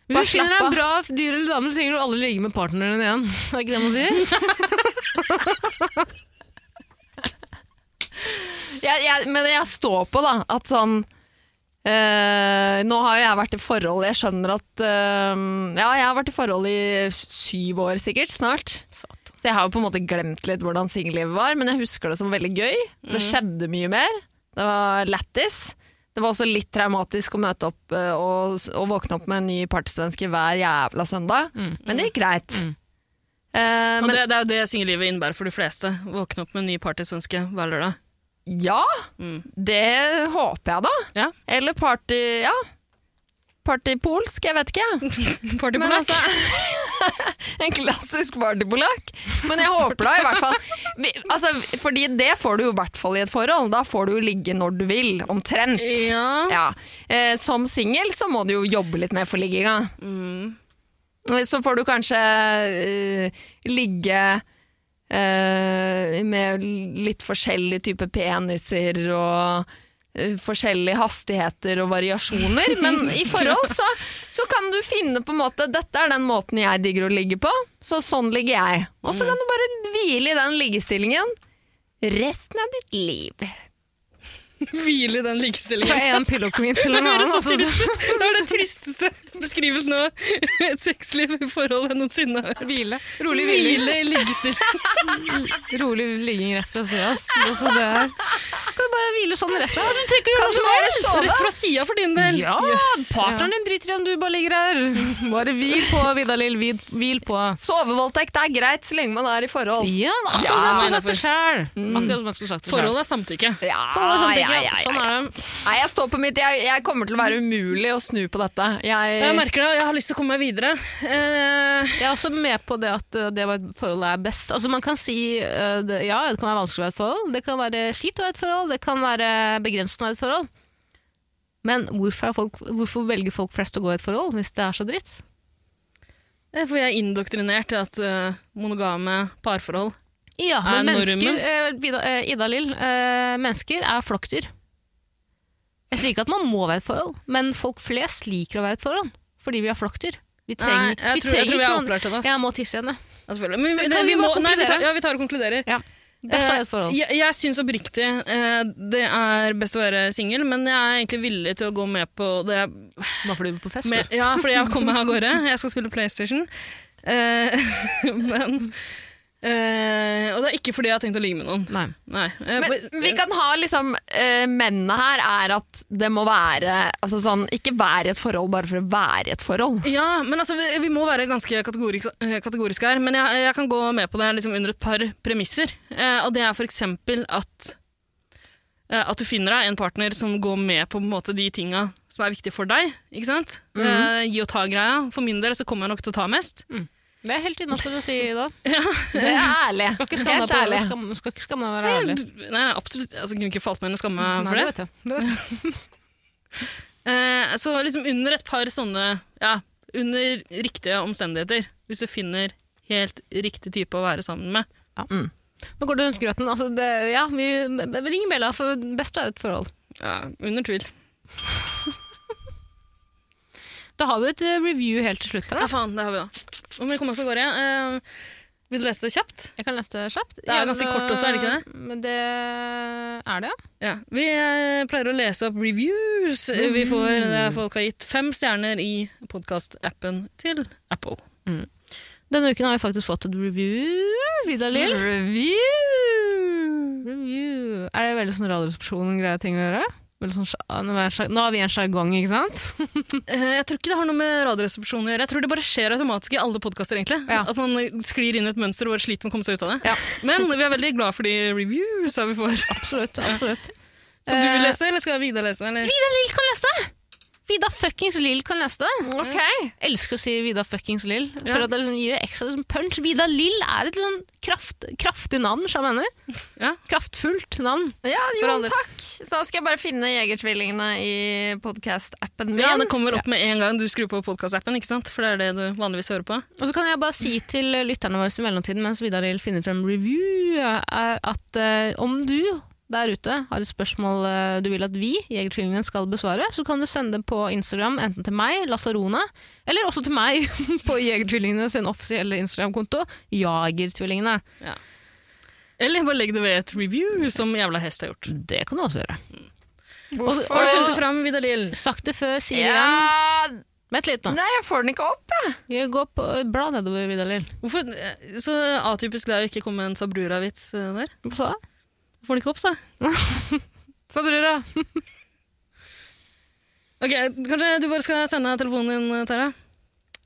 Bare
Hvis du finner
slapp
deg
av.
en bra dyr eller dame, så trenger du aldri ligge med partneren din igjen. Er ikke det man sier?
jeg, jeg, men jeg står på da, at sånn eh, Nå har jo jeg vært i forhold, jeg skjønner at eh, Ja, jeg har vært i forhold i syv år sikkert, snart. Så jeg har jo på en måte glemt litt hvordan singellivet var, men jeg husker det som veldig gøy. Det
Mm.
skjedde mye mer. Det var lættis. Det var også litt traumatisk å møte opp eh, og, og våkne opp med en ny partysvenske hver jævla søndag, men det gikk greit. Eh,
Mm. Og
men
det, det er jo det singellivet innebærer for de fleste. Våkne opp med en ny partysvenske hver lørdag.
ja, det håper jeg da.
Ja.
Eller party Ja. Partypolsk, jeg vet ikke. jeg. Men
Partypolakk.
altså, en klassisk partypolakk. Men jeg håper da i hvert fall vi- altså, Fordi det får du jo i hvert fall i et forhold. Da får du jo ligge når du vil, omtrent.
Ja.
Ja. Eh, som singel så må du jo jobbe litt mer for ligginga. Så får du kanskje eh, ligge eh, med litt forskjellige typer peniser og eh, forskjellige hastigheter og variasjoner, men i forhold så, så kan du finne på en måte Dette er den måten jeg digger å ligge på, så sånn ligger jeg. Og så kan du bare hvile i den liggestillingen resten av ditt liv.
Hvile i den likestillingen.
Fra en pillow queen til
Det
en annen.
høres så
Altså,
trist ut! Det er den tristeste beskrivelsen av et sexliv i forhold jeg noensinne har hørt.
hvile.
Rolig hvile i likestilling.
Rolig ligging rett fra sida. Altså, det er- kan du bare hvile sånn resten av Du trenger ikke gjøre noe
Kan du
som
bare
helst!
sove?
Rett fra sida for din del.
Ja,
Jøss.
partneren din driter i om du bare ligger her. Bare hvil på, Vidalil. Hvil, hvil på.
Sovevoldtekt er greit så lenge man er i forhold.
Ja, akkurat
Ja,
som jeg skulle
men
sagt det sjøl. Akkurat som jeg skulle sagt det selv.
Forholdet er samtykke.
Ja,
Forholdet er
ja,
samtykke.
ja, ja.
Sånn er det.
Nei, jeg står på mitt. Jeg, jeg kommer til å være umulig å snu på dette.
Eh.
Jeg
Jeg,
merker det, og jeg har lyst til å komme meg videre. Eh,
Jeg er også med på det at uh, det var et forhold er best. Altså man kan si uh, det, ja, det kan være vanskelig å være et forhold, det kan være slitt å være et forhold, det kan være begrensende å være et forhold. Men hvorfor, er folk, hvorfor velger folk flest å gå i et forhold hvis det er så dritt?
for jeg er indoktrinert til at eh, monogame parforhold
Ja,
Er
men mennesker,
nordmenn-
eh, Vida, eh, Ida Lill, eh, mennesker er flokkdyr. Jeg sier ikke at man må være i et forhold, men folk flest liker å være i et forhold. Fordi vi er flokkdyr. Vi trenger,
Nei, jeg
vi
tror- jeg
trenger
tror vi er
ikke noen-
opplært til det, ass.
Jeg må tisse igjen, jeg.
Ja, selvfølgelig. Men vi,
Men
nei,
kan
vi,
vi
må,
bare
nei, vi,
konkludere?
tar, ja, vi tar og konkluderer.
Ja. Best er i et forhold.
Eh, Jeg, jeg syns oppriktig eh, det er best å være singel, men jeg er egentlig villig til å gå med på det.
Bare fordi du er på fest.
Med, ja, fordi jeg kommer meg av gårde. Jeg skal spille PlayStation. Eh, men eh, Og det er ikke fordi jeg har tenkt å ligge med noen.
du. Nei.
Nei. Eh,
Men
på-
vi kan ha liksom eh, Mennene her er at det må være altså sånn, Ikke være i et forhold bare for å være i et forhold.
Ja, men altså, vi, vi må være ganske kategorisk, eh, kategoriske her, men jeg, jeg kan gå med på det liksom under et par premisser. Eh, og det er for eksempel at, eh, at du finner deg en partner som går med på, på en måte, de tinga som er viktige for deg. Ikke sant?
Mhm.
eh, gi og ta-greia. For min del så kommer jeg nok til å ta mest.
Det er helt innafor å si Ida.
Det er ærlig.
Skal ikke skamme
Helt
deg på
ærlig.
Skam, skal ikke skamme deg å være ærlig.
Nei, nei, absolutt. Altså, kunne ikke falt meg inn å skamme meg for
Nei,
det.
det vet jeg. Det vet jeg.
Eh, så liksom under et par sånne Ja, under riktige omstendigheter. Hvis du finner helt riktig type å være sammen med.
Nå går det rundt grøten. Altså, det, ja, vi, vi ringer Bella for best å være i et forhold.
Ja, under tvil.
Da har vi et eh, review helt til slutt her.
Ja,
Da.
faen, det har vi da. Om vi kommer oss av gårde. eh, vil du lese det kjapt?
Jeg kan lese det kjapt. eh,
Det er ganske kort også, er det ikke det?
Men det er det, ja.
Ja. Vi eh, pleier å lese opp reviews eh, vi får der folk har gitt fem stjerner i podkast-appen til Apple.
Denne uken har vi faktisk fått et review, Vidar Lill.
Review!
Review. Er det veldig sånn radioresepsjon-greie ting å gjøre? Veldig sånn, sja- nå er jeg sja- nå har vi en sjargong, ikke sant?
Eh, jeg tror ikke det har noe med radioresepsjonen å gjøre. Jeg tror det bare skjer automatisk i alle podkaster, egentlig.
Ja.
At man eh, sklir inn i et mønster og bare sliter med å komme seg ut av det. Men vi er veldig glad for de reviews vi får.
Absolutt. absolutt.
Skal du
Eh,
lese, eller skal Vida lese? Eller?
Vidar Lill kan lese det! Vida fuckings Lill kan lese det.
Ok.
Elsker å si Vida fuckings Lill. For
Ja.
at det liksom gir det ekstra liksom punch. Vida Lill er et sånn kraft, kraftig navn, som jeg mener.
Ja.
Kraftfullt navn.
Ja,
For
jo,
alle.
takk! Så da skal jeg bare finne Jegertvillingene i podkast-appen min.
Ja, det kommer opp med en gang du skrur på podkastappen, ikke sant? For det er det du vanligvis hører på.
Og så kan jeg bare si til eh, lytterne våre i mellomtiden, mens Vidar Lill finner frem review, er at eh, om du der ute har et spørsmål eh, du vil at vi, Jegertvillingene, skal besvare, så kan du sende det på Instagram enten til meg, Lasarona, eller også til meg på Jegertvillingene sin offisielle Instagram-konto, Jagertvillingene.
Eller bare legg det ved et review, som jævla hest har gjort.
Det kan du også gjøre.
Hvorfor?
Har du funnet det fram, Vidar Lill?
Sagt det før, sier
ja,
igjen. Vent litt nå.
Nei, jeg får den ikke opp, jeg.
Jeg går på, bla nedover, Vidar Lill.
Hvorfor eh, så atypisk det er å ikke komme med en Sabrura-vits eh, der?
Hva sa jeg?
Får den ikke opp, sa jeg.
Sa brura.
Ok, Kanskje du bare skal sende telefonen din, eh, Tara?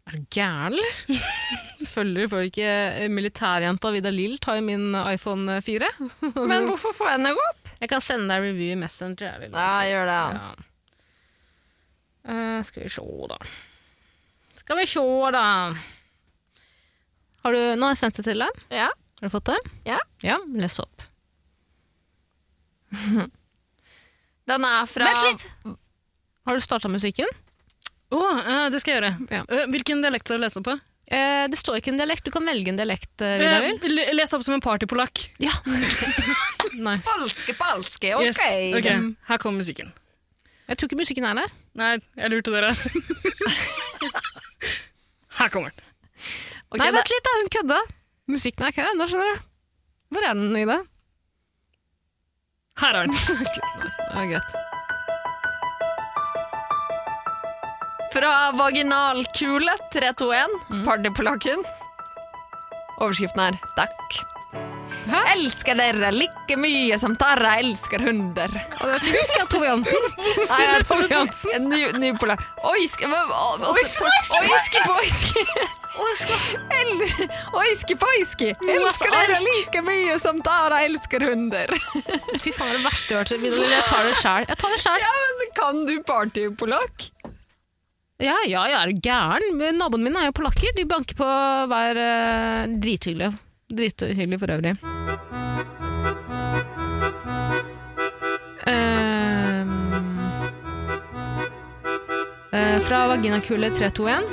Er du gæren, eller? Selvfølgelig får ikke eh, militærjenta Vidar Lill ta i min eh, iPhone 4.
Men hvorfor får jeg den ikke opp?
Jeg kan sende deg review i Messenger. Eller?
Ja, gjør det.
Ja. Eh, skal vi sjå, da. Skal vi sjå, da. Har du, nå har jeg sendt det til deg.
Ja.
Har du fått det?
Ja.
Ja, Les opp.
Den er fra
Vent litt! Har du starta musikken?
Å, eh, det skal jeg gjøre.
Ja.
Eh, Hvilken dialekt skal du lese på?
Eh, det står ikke en dialekt. Du kan velge en dialekt, eh, Vidar Lill.
Eh, le- Les opp som en partypolakk.
Ja. nice.
Falske, falske, ok. Mm.
Yes, ok, Her kommer musikken.
Jeg tror ikke musikken er der.
Nei, jeg lurte dere. her kommer den.
Ok,
Nei,
da-
vent litt, da. Hun kødda. Musikken er ikke her ennå, skjønner du. Hvor er den, Ida?
Her er den.
Ja, greit.
Fra vaginalkule 321, partypolakken. Overskriften er 'Takk'.
Hæ?
Elsker dere like mye som Tara elsker hunder.
Og det fins ikke av Tove Jansen.
Nei, jeg er sånn
Tove
absolutt
Jansen.
en ny, ny polakk. Oiske
Oiske, oiske.
Oiske poiski. El- Oiske poiski.
Masse
Elsker dere
ark.
like mye som Tara elsker hunder.
Fy faen, det er det verste jeg har hørt. Vidar Lill. Jeg tar det sjæl. Jeg tar det sjæl.
Ja, men Kan du partypolakk?
Ja, ja, jeg er gæren. Men Naboene mine er jo polakker. De banker på hver eh, Drithyggelige. Drithyggelige for øvrig. Ehm. Eh, eh, fra vaginakule 321.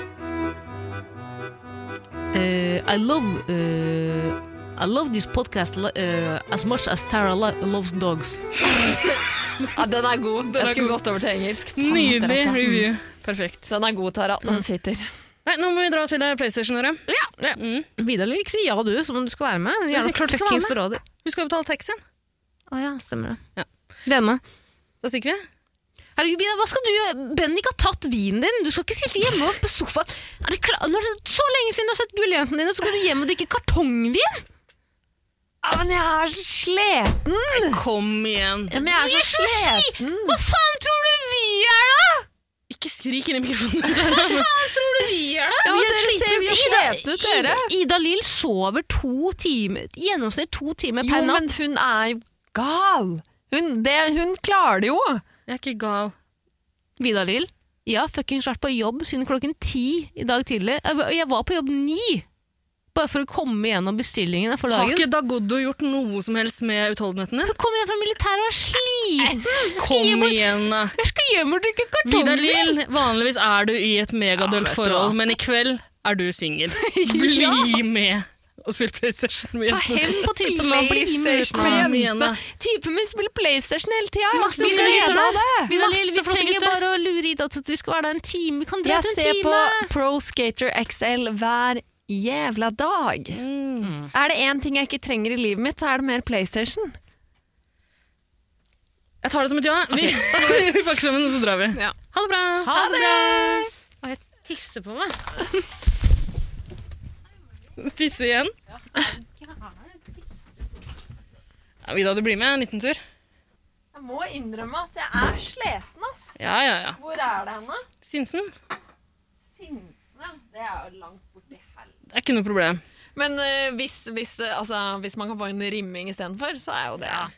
Eh, I love eh, I love this podcast lo- eh, as much as Tara lo loves dogs.
Ja, den er god. Mm.
er
jeg skulle
god.
gått over til engelsk. Faen,
Nydelig
Therese.
review. Perfekt. Mm.
altså. Mm. Den er god, Tara. Den sitter.
Nei, nå må vi dra og spille PlayStation, dere. Mm.
Vidar Lyrik, si ja du, som om du skal være med.
Ja,
Jævla
klart jeg skal
fuckings
være
forræder.
Vi skal betale taxien.
Å ja, stemmer det.
Ja.
Gleder meg.
Da stikker vi.
Herregud, Vidar, hva skal du gjøre? Bendik har tatt vinen din! Du skal ikke sitte hjemme på sofaen. Er du klar? Nå er det så lenge siden du har sett gulljentene dine, så går du hjem og drikker kartongvin?
Ja, men jeg er så sliten!
Kom igjen.
Men jeg er så sliten!
Hva faen tror du vi er, da?!
Ikke skrik inn i mikrofonen. Tara.
Hva tror du vi er, da?!
Ja,
Vi er
dere
slitne.
ser vi er
Ida-
slitne ut, dere.
Ida, Ida Lill sover to timer, gjennomsnitt to timer
Jo,
per natt.
men hun er jo gal! Hun, det, hun klarer det jo!
Jeg er ikke gal.
Vidar Lill, jeg har fuckings vært på jobb siden klokken ti i dag tidlig. Jeg var- Jeg var på jobb ni! Bare for å komme gjennom bestillingene for
Har
dagen.
ikke Dagodo gjort noe som helst med utholdenheten din?
Hun kommer hjem fra militæret og er sliten!
Kom igjen, da.
Jeg skal hjem og drikke
Vidar
kartongvin!
Lill, vanligvis er du i et megadølt forhold, men i kveld er du singel. Bli med og spill PlayStation med
Ta
jentene.
hevn på typen og bli med ut
Kom
nå.
igjen, da.
Typen min spiller PlayStation hele tida! Jeg har
Masse
så
flotte
glede
gutter
av
der.
det.
Vidar Lill,
Masse
vi
flotte
trenger
gutter.
bare å lure Ida til at vi skal være der en time. Vi kan dra
Jeg
til en
ser
time.
på Pro Skater XL hver jævla dag.
Mm.
Er det én ting jeg ikke trenger i livet mitt, så er det mer PlayStation.
Jeg tar det som et ja. Vi, vi pakker sammen, og så drar vi.
Ja.
Ha det bra.
Ha det bra! Å, jeg tisser på meg.
Tisse igjen. Ja, Vida, du blir med en liten tur?
Jeg må innrømme at jeg er sliten, ass.
Ja, ja, ja.
Hvor er det henne?
Sinsen.
Sinsene. Det er jo langt borti helvete.
Det er ikke noe problem.
eh, Men eh, hvis, hvis, det- altså, hvis man kan få en rimming istedenfor, så er jo det